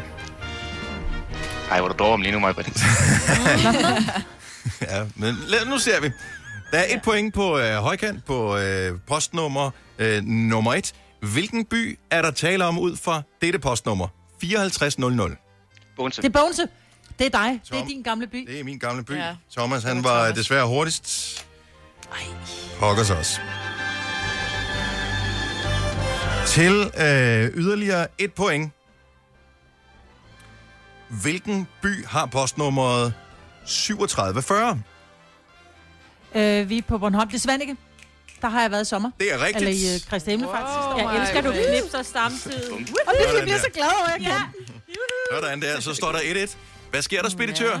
S13: Ej, hvor er du drømmer om lige nu, Majbrit.
S1: ja, men lad, nu ser vi. Der er et ja. point på øh, højkant på øh, postnummer øh, nummer 1. Hvilken by er der tale om ud fra dette postnummer? 5400.
S13: Bonse.
S7: Det er Bogense. Det er dig. Det er din gamle by.
S1: Det er min gamle by.
S7: Ja.
S1: Thomas, han var Thomas. desværre hurtigst. Ej. Pokkers os. Til øh, yderligere et point. Hvilken by har postnummeret 3740?
S7: Øh, vi er på Bornholm. Det er Svanike. Der har jeg været i sommer.
S1: Det er rigtigt.
S7: Eller i øh, Christi wow,
S5: Jeg elsker, at du knipser samtidig.
S7: Og det, jeg
S1: Sådan
S7: bliver
S1: der.
S7: så glad over, at jeg kan.
S1: Sådan der, så står der 1-1. Hvad sker der, speditør?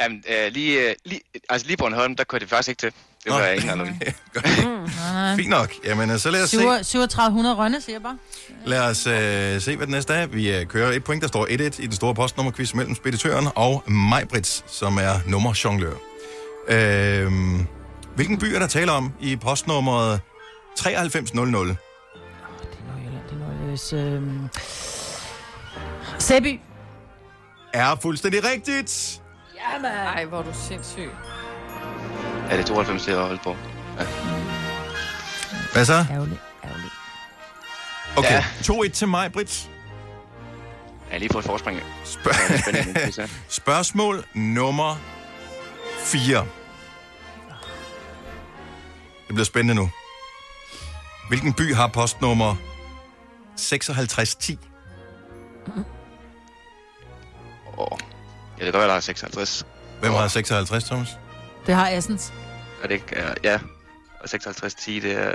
S13: Jamen, øh, lige, øh, lige, altså lige Bornholm, der kunne det faktisk ikke til. Det var jeg ikke
S1: *laughs*
S13: engang noget i.
S1: Mm.
S7: Nej,
S1: Fint nok. Jamen, øh, så lad os se.
S7: nej. 3700 Rønne, siger jeg bare.
S1: Lad os øh, se, hvad den næste er. Vi øh, kører et point, der står 1-1 i den store postnummerquiz mellem speditøren og Majbrits, som er nummerjonglør. Øhm, hvilken by er der tale om i postnummeret 9300?
S7: Hvis, øh... Sæby.
S1: Er fuldstændig rigtigt!
S3: Jamen. Ej, hvor er du sindssyg.
S13: Ja, det er 92, det er Aalborg. Ja.
S1: Hvad så?
S7: Ærgerligt,
S13: ærgerligt.
S1: Okay, ja. 2-1 til Majbrits.
S13: Ja, lige på et forspring.
S1: Spørg- *laughs* Spørgsmål nummer 4. Det bliver spændende nu. Hvilken by har postnummer 5610?
S13: Ja, det kan godt være, der er 56.
S1: Hvem har 56, Thomas?
S7: Det har Assens.
S13: Er det ikke, øh, ja. Og 56, 10, det er...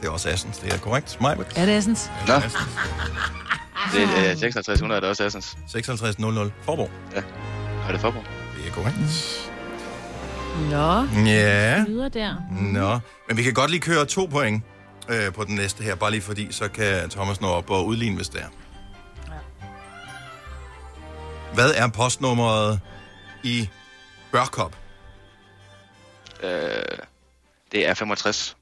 S1: Det er også Assens, det er korrekt. Majbert?
S7: Er det Assens?
S13: Nå. Det er øh, 5600, er det også Assens.
S1: 5600 Forborg.
S13: Ja. Er det Forborg?
S1: Det er korrekt.
S5: Nå.
S1: Ja.
S5: Lyder der.
S1: Nå, men vi kan godt lige køre to point øh, på den næste her, bare lige fordi, så kan Thomas nå op og udligne, hvis det er. Hvad er postnummeret i Børkop?
S13: Øh, det er 65.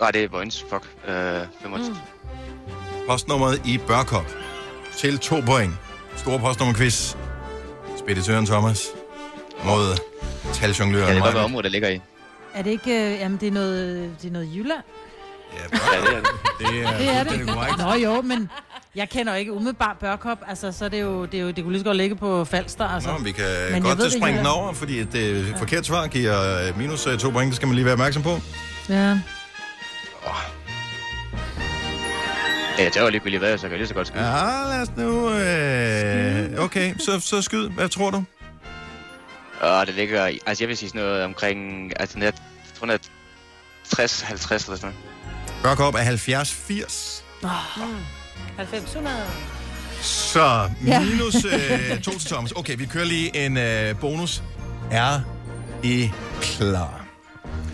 S13: Nej, det er Vojens. Fuck. Øh, 65. Mm.
S1: Postnummeret i Børkop. Til to point. Store postnummerquiz. Speditøren Thomas mod taljongløren.
S13: Kan det godt
S1: Maja.
S13: være området, der ligger i?
S7: Er det ikke... Øh, jamen, det er noget, det er noget Jylland.
S13: Ja, det er det.
S1: *laughs* Det er,
S7: det er
S1: fuldstændig korrekt.
S7: det. Nå jo, men jeg kender jo ikke umiddelbart Børkop. Altså, så er det jo... Det, er jo, det kunne lige så godt ligge på Falster, altså.
S1: Nå, men vi kan
S7: jeg
S1: men godt ved,
S7: ved det
S1: springe den
S7: ikke.
S1: over, fordi et øh, forkert svar giver øh, minus øh, to point. Det skal man lige være opmærksom på.
S7: Ja.
S13: Ja, det var ligegyldigt hvad, så kan jeg lige så godt skyde.
S1: Ja, lad os nu... Øh, okay, så, så skyd. Hvad tror du?
S13: Og det ligger... i- Altså, jeg vil sige sådan noget omkring... Altså, net, jeg tror, den er 60-50 eller sådan noget.
S1: Børkop er 70-80.
S5: Oh. 900.
S1: Så
S5: Ja.
S1: minus
S7: *laughs*
S1: øh, to til Thomas. Okay, vi kører lige en øh, bonus. Er I klar?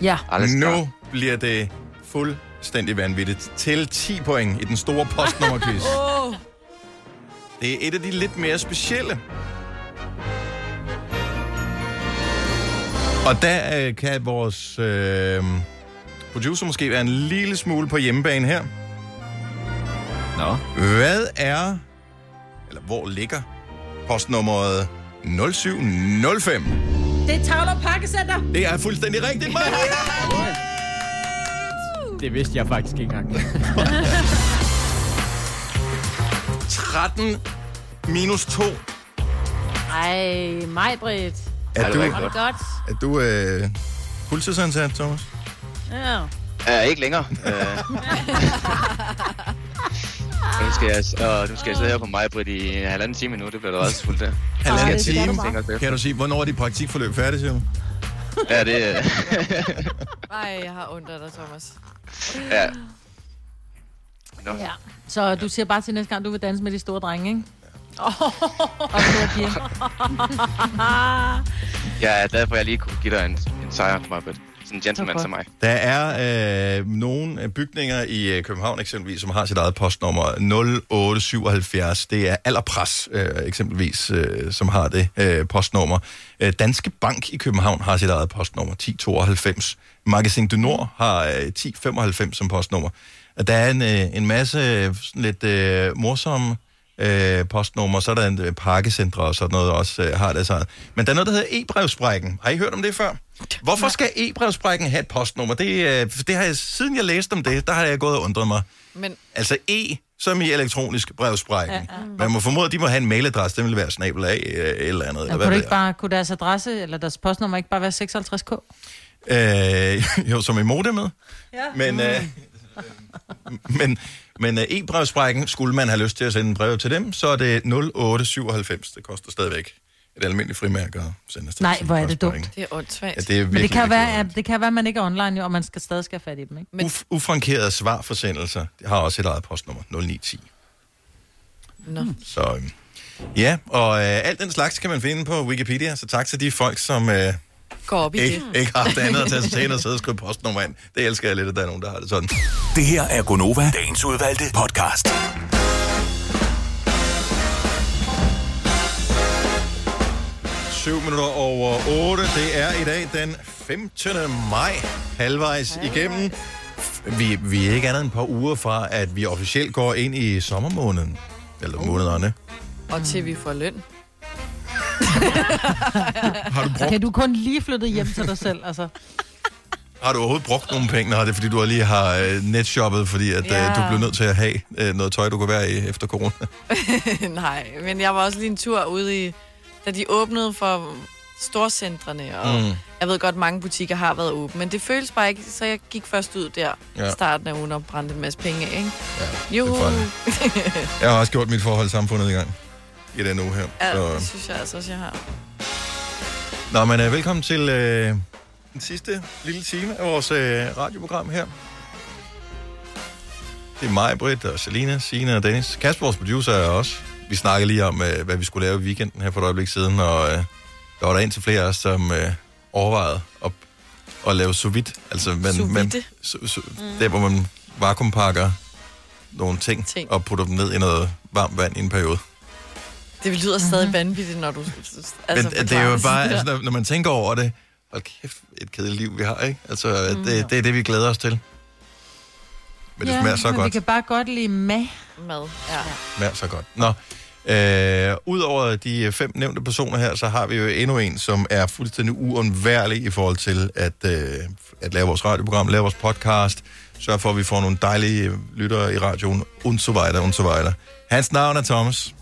S7: Ja.
S1: Nu bliver det fuldstændig vanvittigt. Til 10 point i den store
S14: *laughs*
S1: postnummerquiz.
S7: Oh.
S1: Det er et af de lidt mere specielle. Og der øh, kan vores øh, producer måske være en lille smule på hjemmebane her. Nå. Hvad er, eller hvor ligger postnummeret 0705?
S7: Det er Tavler Pakkecenter.
S1: Det er fuldstændig rigtigt, Maja! Det vidste jeg faktisk ikke *laughs* engang. 13 minus 2.
S5: Ej, mig, Britt.
S1: Er du-
S5: Var det
S13: *laughs*
S5: godt?
S1: Er du øh, fuldtidsansat, Thomas?
S5: Ja.
S13: Uh, ikke længere. Uh, nu, skal jeg, og nu skal jeg sidde her på mig, Britt, i en halvanden time nu. Det bliver da også fuldt der.
S1: *laughs* Halvanden
S13: Skal jeg tænke
S1: time.
S13: os
S1: Kan du sige, hvornår er dit praktikforløb færdigt, siger du?
S13: efter? Ja, det... øh,
S3: Ej, jeg har ondt af dig, Thomas.
S13: ja. Nå.
S7: *laughs* Ja. Så du siger bare til næste gang, du vil danse med de store drenge, ikke? Oh. Og store
S1: *laughs*
S7: piger.
S13: Jeg er glad for, at jeg lige kunne give dig en, en sejr, mig, Britt. Sådan en gentleman
S1: godt.
S13: som mig.
S1: *laughs* Der er øh, nogle øh, bygninger i øh, København eksempelvis, som har sit eget postnummer 0877. Det er Allerpres øh, eksempelvis, øh, som har det øh, postnummer. Øh, Danske Bank i København har sit eget postnummer 1092. Magasin du Nord har øh, 1095 som postnummer. Og Der er en, øh, en masse øh, sådan lidt øh, morsomme øh, postnummer, så er der en øh, pakkecentre og sådan noget også øh, har det så. Men der er noget, der hedder e-brevsprækken. Har I hørt om det før? Hvorfor skal e-brevsprækken have et postnummer? Det, øh, det har jeg, siden jeg læste om det, der har jeg gået og undret mig.
S3: Men
S1: Altså E, som i elektronisk brevsprækken.
S7: Ja,
S1: Ja,
S7: ja.
S1: ja. Man må formode, at de må have en mailadresse. Det vil være snabel af øh, eller andet. Eller
S7: Ja, kunne,
S1: hvad
S7: det
S1: ved
S7: ikke bare, kunne deres adresse eller deres postnummer ikke bare være 56k?
S1: jeg. Øh, jo, som i modemet.
S7: Ja.
S1: Men, øh, men, men øh, e-brevsprækken, skulle man have lyst til at sende en brev til dem, så er det 0897. Det koster stadigvæk et almindeligt frimærke at sende afsted.
S7: Nej, hvor er det dumt.
S3: Det er åndssvagt.
S1: Ja, det er
S7: Men det
S1: virkelig,
S7: kan,
S1: virkelig
S7: være, at, det kan være, at man ikke er online, jo, og man skal stadig skal have fat i dem, ikke? *laughs*
S1: Men... Uf- ufrankerede svarforsendelser det har også et eget postnummer, 0910.
S3: Nå.
S1: Så øhm, ja, og øh, alt den slags kan man finde på Wikipedia, så tak til de folk, som øh,
S3: Gå op i
S1: ikke,
S3: det.
S1: ikke har haft andet at tage sig til end at sidde og skrive postnummer ind. Det elsker jeg lidt, at der er nogen, der har det sådan.
S6: Det her er Gonova, dagens udvalgte podcast.
S1: Syv minutter over 8. Det er i dag den 15. maj, halvvejs igennem. Vi, vi er ikke andet end et par uger fra, at vi officielt går ind i sommermåneden. Eller
S3: Uh.
S1: månederne.
S3: Og til vi får løn.
S1: Har du brugt,
S7: Kan du kun lige flytte hjem til dig selv, altså?
S1: har du overhovedet brugt nogle penge? Nå, det er fordi, du lige har øh, netshoppet, fordi at,
S3: Ja.
S1: øh, du blev nødt til at have øh, noget tøj, du kunne være i efter corona.
S3: *laughs* Nej, men jeg var også lige en tur ude i... Da de åbnede for storcentrene, og mm.
S1: Mm.
S3: jeg ved godt, mange butikker har været åbne, men det føles bare ikke, så jeg gik først ud der ja.
S1: Ja.
S3: starten af ugen og brændte en masse penge af, ikke? Ja,
S1: det er Jeg har også gjort mit forhold til samfundet i gang i den uge her.
S3: *laughs* ja, det
S1: Så.
S3: synes jeg altså også, jeg har.
S1: Nå, men øh, velkommen til øh, den sidste lille time af vores øh, radioprogram her. Det er mig, Britt og Selina, Sina og Dennis. Kasper, vores producer, er også. Vi snakkede lige om, øh, hvad vi skulle lave i weekenden her for et øjeblik siden, og øh, der var der en til flere af os, som øh, overvejede at, at lave sous vide. Altså, man,
S3: Sous
S1: man,
S3: vide. Mm.
S1: su, su, der, hvor man vakuumpakker nogle ting, ting, og putter dem ned i noget varmt vand i en periode.
S3: Det lyder stadig mm-hmm. vanvittigt, når du... Altså,
S1: Mhm. Men altså, det er jo
S3: forklarer
S1: bare,
S3: sådan
S7: *laughs*
S1: altså,
S3: der.
S1: når, når man tænker over det, hold kæft, et kedeligt liv, vi har, ikke? Altså, mm, det, det er det, vi glæder os til. Men det smager så
S7: men vi
S1: godt.
S7: kan bare godt lide mad.
S3: Mad, ja.
S1: smager så godt. Nå, øh, udover de fem nævnte personer her, så har vi jo endnu en, som er fuldstændig uundværlig i forhold til at, øh, at lave vores radioprogram, lave vores podcast, sørge for, at vi får nogle dejlige lyttere i radioen, und so weiter, und so weiter. Hans navn er Thomas.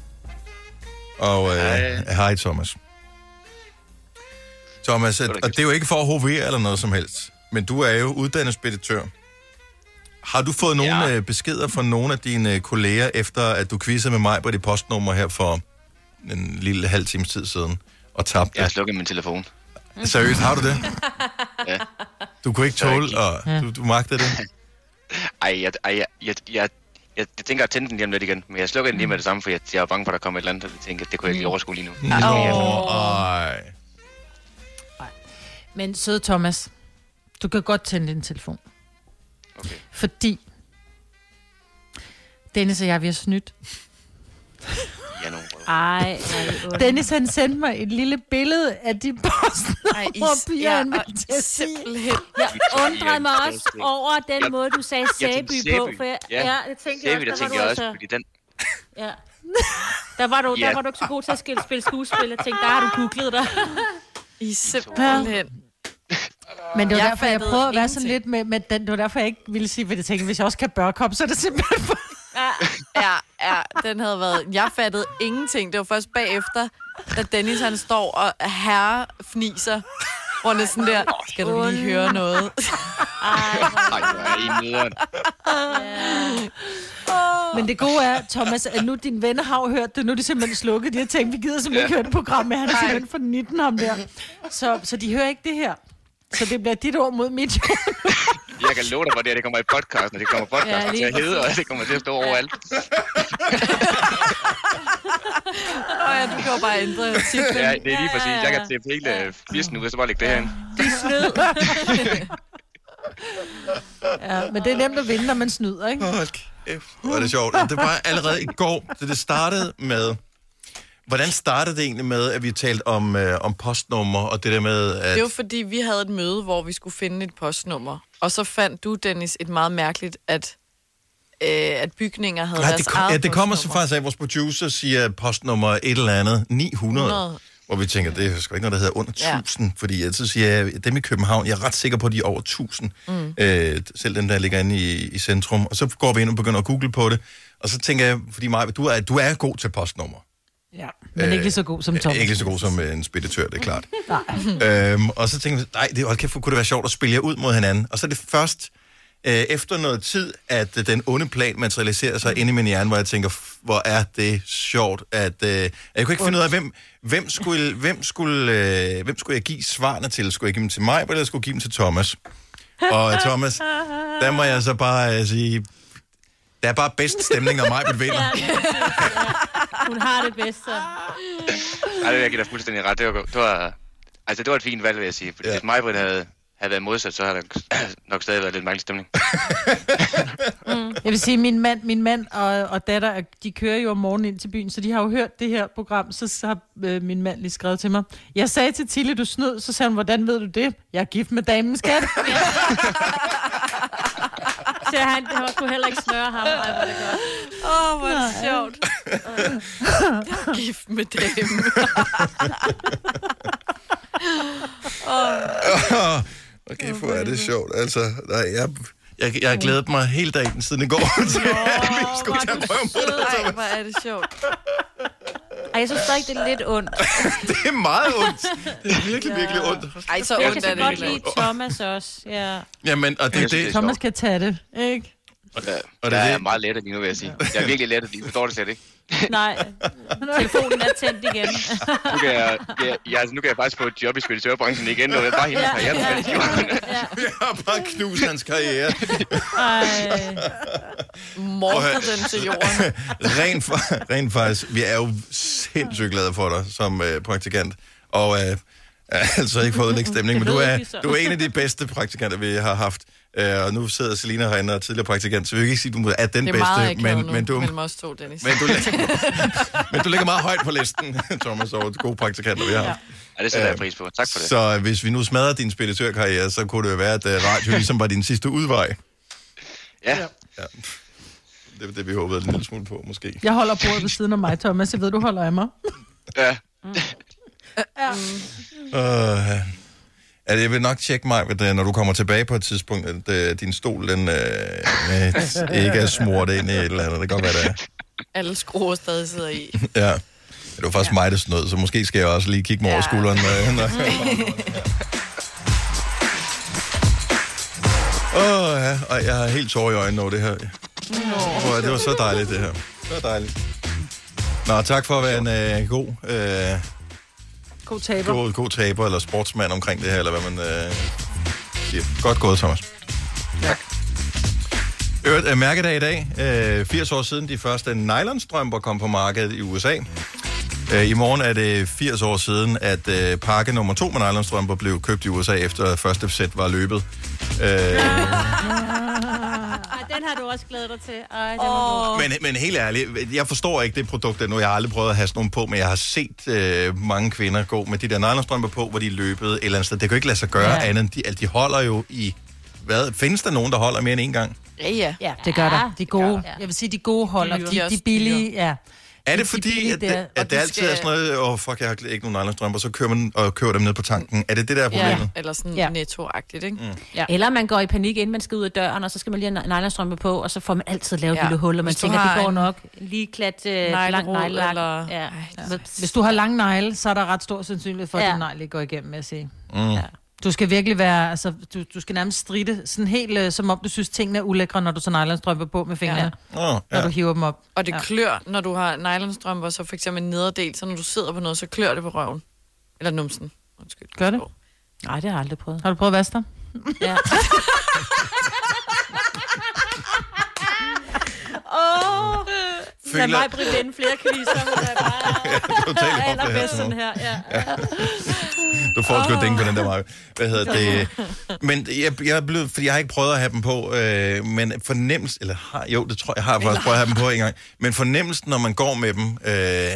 S1: Og øh, hej. hej, Thomas. Thomas, at, og det er jo ikke for at hovere eller noget som helst, men du er jo uddannet speditør. Har du fået nogle ja. beskeder fra nogle af dine øh, kolleger, efter at du quizzede med mig på dit postnummer her for en lille halv times tid siden, og tabte? Mm.
S13: Jeg har slukket min telefon.
S1: Seriøst, har du det?
S13: Ja.
S1: Du kunne ikke
S13: Så jeg
S1: tåle,
S13: gik-
S1: og du, du magtede det?
S13: Ej, jeg, ej jeg, jeg, jeg, jeg, jeg tænker at tænde den lige om lidt igen, men jeg slukker den lige
S1: Mm.
S13: med det samme, for jeg, jeg er bange for, at der kommer et eller andet, og jeg tænker, det kunne jeg ikke lige overskue lige nu.
S1: Nå, ej.
S7: Men søde Thomas, du kan godt tænde din telefon. Okay. Fordi Dennis og jeg, vi har snydt.
S13: Ja, nu.
S7: Ej, Øh, Dennis han sendte mig et lille billede af de postnummerpiger,
S5: ja,
S7: han
S5: og
S7: ville til at sige.
S5: Jeg
S13: undrede
S5: undrede mig også
S13: Jeg-
S5: over den
S13: jeg-
S5: måde, du sagde
S13: Jeg
S5: sæby
S13: tænkte
S5: på. For jeg, ja, jeg tænkte
S13: sæbe, der
S5: også, der var
S13: tænkte
S5: du
S13: jeg også,
S5: altså...
S13: fordi den,
S5: Ja. Der var, du,
S13: Ja.
S5: der var du ikke så god til at skille, spille skuespil. Jeg tænkte, der har du googlet dig.
S3: I simpelthen.
S7: Men det var
S3: Jeg
S7: jeg derfor, jeg
S3: fattede
S7: prøvede at være
S3: ingenting.
S7: sådan lidt med, med den. Det var derfor, jeg ikke ville sige, hvad jeg tænkte, hvis jeg også kan børkoppe, så er det simpelthen for...
S3: Ja, ja, den havde været... Jeg fattede ingenting. Det var først bagefter, da Dennis han står og herre fniser. Hvor han er sådan der, skal du lige høre noget? *laughs*
S13: Ej, hvor er I nederen.
S7: *laughs* Men det gode er, Thomas, at nu dine venner har jo hørt det. Nu er de simpelthen slukket. De har tænkt, vi gider simpelthen ikke
S13: Ja.
S7: høre det program med. Han er
S13: Nej.
S7: simpelthen for 19 ham der. Så, så de hører ikke det her. Så det bliver dit ord mod mit ord.
S13: Jeg kan love dig for det, at det kommer i podcasten, og det kommer podcasten
S7: Ja,
S13: ja,
S7: lige
S13: til at hedde, og det kommer til at stå overalt.
S3: Og ja, du kan jo bare ændre titlen.
S13: Ja, det er lige præcis. Jeg kan tage hele fisen ud, og så bare lægge det herinde.
S7: De snød. *laughs* ja, men det er nemt at vinde, når man snyder, ikke?
S1: Hvor er det sjovt. Og Det var allerede i går, så det startede med... Hvordan startede det egentlig med, at vi talte om, øh, om postnummer, og det der med, at...
S3: Det var fordi, vi havde et møde, hvor vi skulle finde et postnummer. Og så fandt du, Dennis, et meget mærkeligt, at, øh, at bygninger havde
S1: Nej,
S3: deres
S1: det, kom,
S3: eget
S1: ja, det kommer så
S3: postnummer.
S1: faktisk af, at vores producer siger postnummer et eller andet, 900.
S3: 100.
S1: 100. Hvor vi tænker, det er sgu ikke noget, der hedder under
S3: Ja.
S1: 1000, fordi jeg, så siger jeg, dem i København, jeg er ret sikker på, at de er over 1000. Mm. Øh, selv dem, der ligger inde i, i centrum. Og så går vi ind og begynder at google på det, og så tænker jeg, fordi Maja, du er, du er god til postnummer.
S7: Ja, men ikke lige så god som
S1: Øh,
S7: Thomas.
S1: Ikke lige så god som øh, en speditør, det er klart.
S7: Nej.
S1: øhm, og så tænkte vi, nej, det, hold kæft, hvor kunne det være sjovt at spille jer ud mod hinanden. Og så er det først øh, efter noget tid, at øh, den onde plan materialiserer sig inde i min hjerne, hvor jeg tænker, "F- hvor er det sjovt, at... Øh, jeg kunne ikke finde ud af, hvem, hvem, skulle, hvem, skulle, øh, hvem skulle jeg give svarene til? Skulle jeg give dem til mig, eller skulle jeg give dem til Thomas? Og øh, Thomas, der må jeg så bare øh, sige, der er bare bedst stemning, når mig vinder.
S5: Hun har det bedst, så.
S13: Ej, det vil jeg give dig fuldstændig ret. Det var, det var, altså, det var et fint valg, vil jeg sige. Fordi ja. hvis mig havde, havde været modsat, så havde der nok stadig været lidt mærkelig stemning.
S7: Mm. Jeg vil sige, min mand, min mand og, og datter, øh, de kører jo om morgenen ind til byen, så de har jo hørt det her program, så, så har øh, min mand lige skrevet til mig. Jeg sagde til Tille, du snød, så sagde hun, hvordan ved du det? Jeg er gift med
S5: *laughs*
S7: damen, skat.
S5: Så han det kunne heller ikke snøre ham. Ej, hvor er det godt.
S3: Åh, oh, hvor er det sjovt. *laughs* Jeg er gift med *laughs* dem. oh.
S1: *laughs* Okay, hvor er det sjovt. Altså, nej, jeg, jeg, jeg har glædet mig hele dagen siden i går *laughs* til, at vi skulle tage prøve på det.
S3: Ej, hvor er det
S1: *laughs*
S3: sjovt.
S5: Ej, jeg synes stadig, det er lidt ondt.
S1: Det er meget ondt. Det er virkelig, virkelig ondt.
S3: Ej, så
S5: jeg
S3: ondt
S5: kan
S3: er det
S5: så godt
S3: heller
S5: lide
S3: ikke.
S5: Thomas også. Ja.
S1: Jamen, og det er
S13: Jeg synes,
S1: det.
S7: Thomas kan tage det, ikke?
S13: Og der, og der er jeg meget lettet lige nu, vil jeg sige. Jeg er virkelig lettet lige. nu. Forstår det slet ikke.
S5: *laughs* Nej, *laughs* telefonen er tændt igen.
S1: *laughs*
S13: Nu kan jeg, jeg, jeg, altså, nu kan jeg faktisk få et job i speditørbranchen igen, og jeg bare hende karriere. Ja, ja,
S1: Jeg har bare knust hans karriere.
S3: Morter den til jorden.
S1: *laughs* Rent, fa- rent faktisk, vi er jo sindssygt glade for dig som øh, praktikant. Og øh, *laughs* altså ikke fået lægge stemning, men
S12: Det
S1: du
S12: ved
S1: er,
S12: vi så.
S1: du er en af de bedste praktikanter, vi har haft. Øh, og nu sidder Selina herinde og er tidligere praktikant, så vi kan ikke sige, at du er den
S3: det er meget
S1: bedste,
S3: akavet
S1: men,
S3: nu,
S1: men, du,
S3: mellem os to, Dennis.
S1: Men du, men du ligger meget højt på listen, *laughs* Thomas, over de gode praktikanter, vi har haft.
S13: Ja, det sætter jeg pris på. Tak for det.
S1: Så øh, hvis vi nu smadrer din speditørkarriere, så kunne det jo være, at øh,
S13: *laughs*
S1: radio ligesom var din sidste udvej.
S13: Ja.
S1: ja. Det var det, vi håbede en lille smule på, måske.
S7: Jeg holder bordet ved siden af mig, Thomas. Jeg ved, du holder af mig.
S13: Ja.
S5: Mm.
S7: Ja.
S1: Uh, altså, jeg vil nok tjekke mig, at, øh, når du kommer tilbage på et tidspunkt, at øh, din stol den, øh, øh, ikke er smurt ind i et eller andet. Det kan godt
S13: *laughs*
S1: være, det er.
S3: *laughs* Alle skruer stadig sidder i.
S1: Ja. Det var faktisk ja. mig, der snød, så måske skal jeg også lige kigge mig *laughs* ja. over skulderen. Øh, når jeg Åh, oh, ja. Og jeg har helt tårer i øjnene over det her. Nå. Oh, det var så dejligt, det her. Det var dejligt. Nå, tak for at være en øh, god, øh,
S7: God taber.
S1: god, god taber eller sportsmand omkring det her, eller hvad man øh, siger. Godt gået, Thomas. Øvrigt, øh, mærkedag i dag. Øh, 80 år siden de første nylonstrømper kom på markedet i USA. Øh, I morgen er det 80 år siden, at øh, pakke nummer to med nylonstrømper blev købt i USA, efter første sæt var løbet. Øh,
S5: Ej, den har du også glædet dig til. Ej, den oh.
S1: men, men helt ærligt, jeg forstår ikke det produkt endnu. Jeg har aldrig prøvet at have sådan nogle på, men jeg har set øh, mange kvinder gå med de der nylonstrømper på, hvor de løbede et eller andet sted. Det kan jo ikke lade sig gøre
S7: Ja.
S1: ja. andet. end De, at de holder jo i... Hvad? Findes der nogen, der holder mere end en gang?
S3: Ja, ja.
S7: ja det gør der. De gode, jeg vil sige, de gode holder.
S3: Dyre.
S7: De, de er billige, ja.
S1: Er
S7: De-
S1: det
S7: de
S1: fordi,
S7: billige
S1: at, det,
S7: der, og
S1: at det
S7: de
S1: altid
S7: skal-
S1: er sådan noget, åh oh, fuck, jeg har ikke nogen nylonstrømper, så kører man og kører dem ned på tanken. Er det det, der er problemet?
S3: Ja, eller sådan ja. nettoagtigt, ikke? Mm. Ja.
S5: Eller man går i panik, inden man skal ud af døren, og så skal man lige have ny- nylonstrømpe på, og så får man altid lavet ja.
S7: Ja.
S5: et lille hul, og man
S7: Hvis du
S5: tænker,
S7: har
S5: det går
S7: en
S5: nok. Lige klat øh,
S7: neglerod
S5: langt nejlelak.
S7: eller-
S5: Ja. Ja.
S7: Hvis du har lang negle, så er der ret stor sandsynlighed for, at
S5: Ja.
S7: ja. din negle går igennem, vil jeg sige.
S1: Mm. Ja.
S7: Du skal virkelig være, altså, du, du skal nærmest stride, sådan helt, øh, som om du synes, tingene er ulækre, når du tager nylonstrømper på med fingrene,
S1: ja. Oh,
S7: når du hiver dem op.
S3: Og det
S7: ja.
S3: klør, når du har nylonstrømper, så for eksempel en nederdel, så når du sidder på noget, så klør det på røven. Eller numsen. Undskyld.
S7: Gør det?
S5: Nej, det har jeg aldrig prøvet.
S7: Har du prøvet at vaske dig?
S5: Ja. Åh, oh,
S1: Føler-
S5: lad mig bringe den flere kviser, hun er
S1: *laughs*
S5: bare
S1: totalt op, det her,
S5: allerbedst
S1: Simone.
S5: sådan her. Ja.
S1: Du får sgu oh. dænge på den der vej. Hvad hedder det? Men jeg, jeg er blevet, fordi jeg har ikke prøvet at have dem på, øh, men fornemmelse, eller har, jo, det tror jeg, jeg har faktisk prøvet at have dem på en gang, men fornemmelsen, når man går med dem, øh,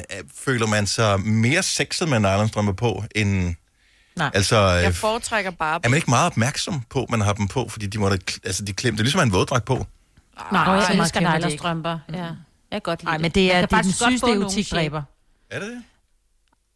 S1: føler man sig mere sexet med nylonstrømper på, end...
S7: Nej.
S1: Altså,
S3: jeg
S1: øh,
S3: foretrækker bare...
S1: er man ikke meget opmærksom på, at man har dem på, fordi de, måtte, altså, de klemte, det er ligesom at have en våddragt på.
S5: Nej,
S7: Nå,
S5: Nå,
S7: så
S5: jeg
S7: meget
S5: elsker
S7: kender de ikke.
S5: nylonstrømper. Ja. Jeg kan godt lide
S7: Ej, men det
S5: Man
S7: er,
S5: kan
S7: det er den
S5: faktisk godt
S7: sygeste
S5: få nogle
S7: erotikdræber.
S1: Er det det?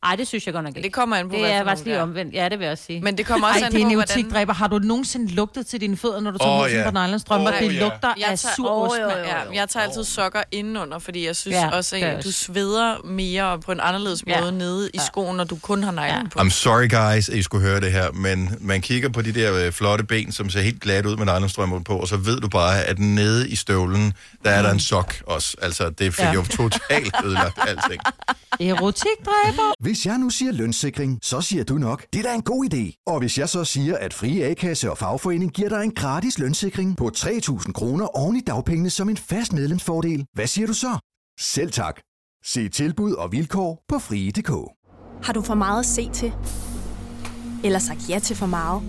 S5: Ej, det synes jeg godt nok ikke.
S3: Det kommer an på,
S5: Det
S3: hvad
S5: er
S3: for nogle
S5: faktisk lige
S3: der er.
S5: omvendt. Ja, det vil jeg også sige.
S3: Men det kommer også
S7: Ej,
S3: an
S7: det er
S3: på,
S7: en
S3: hvordan...
S7: erotikdræber. Har du nogensinde lugtet til dine fødder, når du tager
S3: Åh,
S7: oh, yeah.
S3: ja.
S7: på nylonstrømper?
S3: Åh,
S7: Oh, det
S3: ja.
S7: lugter yeah. af
S3: tager-
S7: sur ost.
S3: Åh, jo, jo, jo, jo. Jeg tager altid sokker indenunder, fordi jeg synes
S7: Ja,
S3: ja, også,
S7: det er
S3: at
S7: også.
S3: du sveder mere på en anderledes måde ja. nede i skoen, når du kun har neglen ja. på.
S1: I'm sorry guys, at I skulle høre det her, men man kigger på de der øh, flotte ben, som ser helt glat ud med nylonstrømper på, og så ved du bare, at nede i støvlen, der er der en sok også. Altså, det fik
S7: Ja.
S1: ja. jo totalt ødelagt alting.
S7: Erotikdræber?
S8: Hvis jeg nu siger lønssikring, så siger du nok, det er da en god idé. Og hvis jeg så siger, at Frie A-kasse og fagforening giver dig en gratis lønssikring på 3.000 kroner oven i dagpengene som en fast medlemsfordel, hvad siger du så? Selv tak. Se tilbud og vilkår på frie.dk.
S15: Har du for meget at se til? Eller sagt ja til for meget?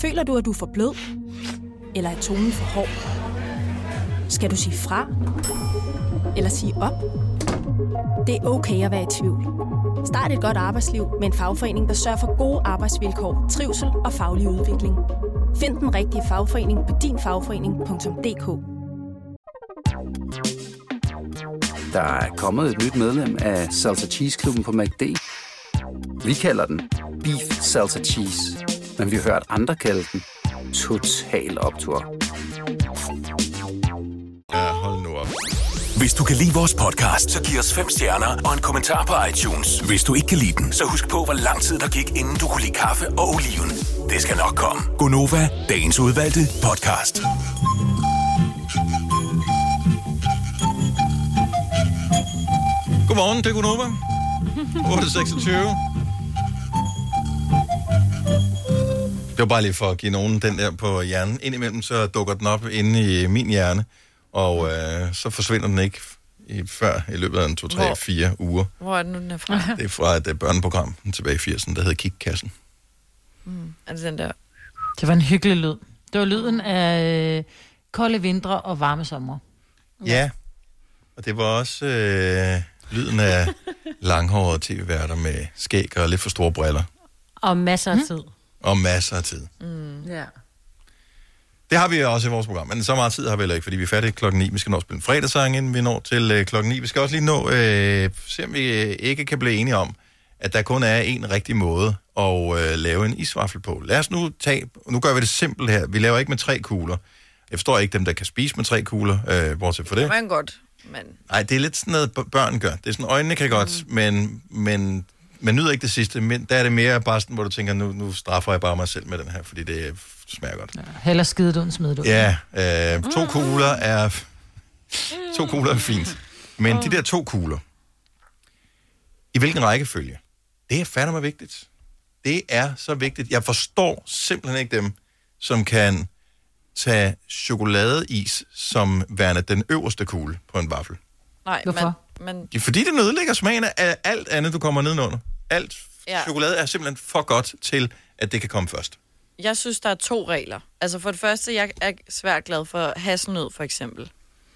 S15: Føler du, at du er for blød? Eller er tonen for hård? Skal du sige fra? Eller sige op? Det er okay at være i tvivl. Start et godt arbejdsliv med en fagforening, der sørger for gode arbejdsvilkår, trivsel og faglig udvikling. Find den rigtige fagforening på dinfagforening.dk.
S11: Der er kommet et nyt medlem af Salsa Cheese Klubben på MACD. Vi kalder den Beef Salsa Cheese, men vi har hørt andre kalde den Total Optor.
S1: Ja, hold nu op.
S6: Hvis du kan lide vores podcast, så giv os fem stjerner og en kommentar på iTunes. Hvis du ikke kan lide den, så husk på, hvor lang tid der gik, inden du kunne lide kaffe og oliven. Det skal nok komme. Gonova, dagens udvalgte podcast.
S1: Godmorgen, det er Gunova. 8.26. Det var bare lige for at give nogen den der på hjernen. Indimellem så dukker den op inde i min hjerne, og øh, så forsvinder den ikke i, før i løbet af en 2-3-4
S3: Hvor?
S1: uger.
S3: Hvor er det nu, den er fra?
S1: Det er fra et øh, børneprogram tilbage i 80'erne, der hedder Kikkassen.
S3: Mm. Er det den der?
S7: Det var en hyggelig lyd. Det var lyden af øh, kolde vintre og varme sommer.
S1: Ja. Og det var også øh, lyden af langhårede tv-værter med skæg og lidt for store briller.
S5: Og masser af tid.
S1: Og masser af tid.
S5: Hmm? Mm. Ja.
S1: Det har vi også i vores program, men så meget tid har vi heller ikke, fordi vi er færdige klokken 9. Vi skal nå at spille en fredagssang, inden vi når til øh, klokken 9. Vi skal også lige nå, øh, se om vi øh, ikke kan blive enige om, at der kun er en rigtig måde at øh, lave en isvaffel på. Lad os nu tage, nu gør vi det simpelt her. Vi laver ikke med tre kugler. Jeg forstår ikke dem, der kan spise med tre kugler, øh, bortset fra
S3: Det
S1: det.
S3: kan man godt, men...
S1: Nej, det er lidt sådan noget, b- børn gør. Det er sådan, øjnene kan godt, mm. men, men man nyder ikke det sidste. Men der er det mere bare sådan, hvor du tænker, nu, nu straffer jeg bare mig selv med den her, fordi det øh, smager godt.
S7: Heller skide du, end smide du.
S1: Ja, øh, to kugler er... To kugler er fint. Men de der to kugler, i hvilken rækkefølge? Det er fandme vigtigt. Det er så vigtigt. Jeg forstår simpelthen ikke dem, som kan tage chokoladeis som værende den øverste kugle på en vaffel.
S3: Nej, Hvorfor? Man, man,
S1: Det er fordi, det nedlægger smagen af alt andet, du kommer nedenunder. Alt
S3: ja.
S1: chokolade er simpelthen for godt til, at det kan komme først.
S3: Jeg synes, der er to regler. Altså for det første, jeg er svært glad for hasselnød, for eksempel.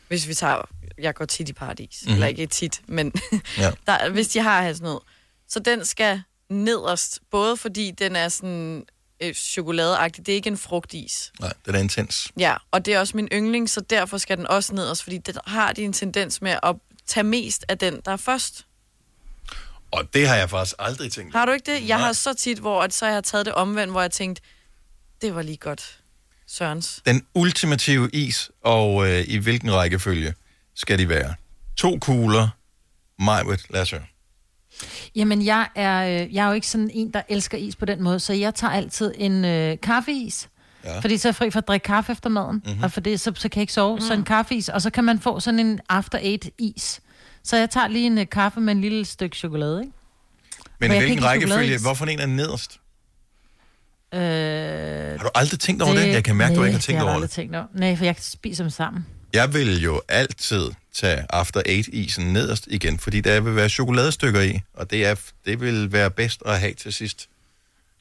S3: Hvis vi tager, jeg går tit i paradis.
S9: Mhm.
S3: Mm-hmm. Eller ikke tit, men
S9: Ja.
S3: ja. der, hvis de har hasselnød. Så den skal nederst, både fordi den er sådan øh, chokoladeagtig. Det er ikke en frugtis.
S1: Nej, den er intens.
S3: Ja, og det er også min yndling, så derfor skal den også nederst, fordi den har de en tendens med at tage mest af den, der er først.
S1: Og det har jeg faktisk aldrig tænkt.
S3: Har du ikke det? Jeg har så tit, hvor at så jeg har taget det omvendt, hvor jeg tænkte, det var lige godt. Sørens.
S1: Den ultimative is, og øh, i hvilken rækkefølge skal de være? To kugler, Majwit, lad os høre.
S7: Jamen, jeg er, øh, jeg er jo ikke sådan en, der elsker is på den måde, så jeg tager altid en øh, kaffeis.
S1: Ja.
S7: Ja. Fordi så er jeg fri for at drikke kaffe efter maden,
S1: Mhm.
S7: mm-hmm. og for det, så, så kan jeg ikke sove. Mm. Så en kaffeis, og så kan man få sådan en after eight is. Så jeg tager lige en øh, kaffe med en lille stykke chokolade, ikke?
S1: Men
S7: Men jeg
S1: i
S7: kan ikke
S1: hvilken
S7: lide
S1: rækkefølge?
S7: chokoladeis.
S1: Hvorfor en er nederst?
S7: Øh,
S1: Har du aldrig tænkt over det? Jeg kan mærke, du ikke har tænkt
S7: jeg
S1: over
S7: har aldrig
S1: det.
S7: tænkt over Nej, for jeg spiser dem sammen.
S1: Jeg vil jo altid tage After Eight-isen nederst igen, fordi der vil være chokoladestykker i, og det, er, det vil være bedst at have til sidst.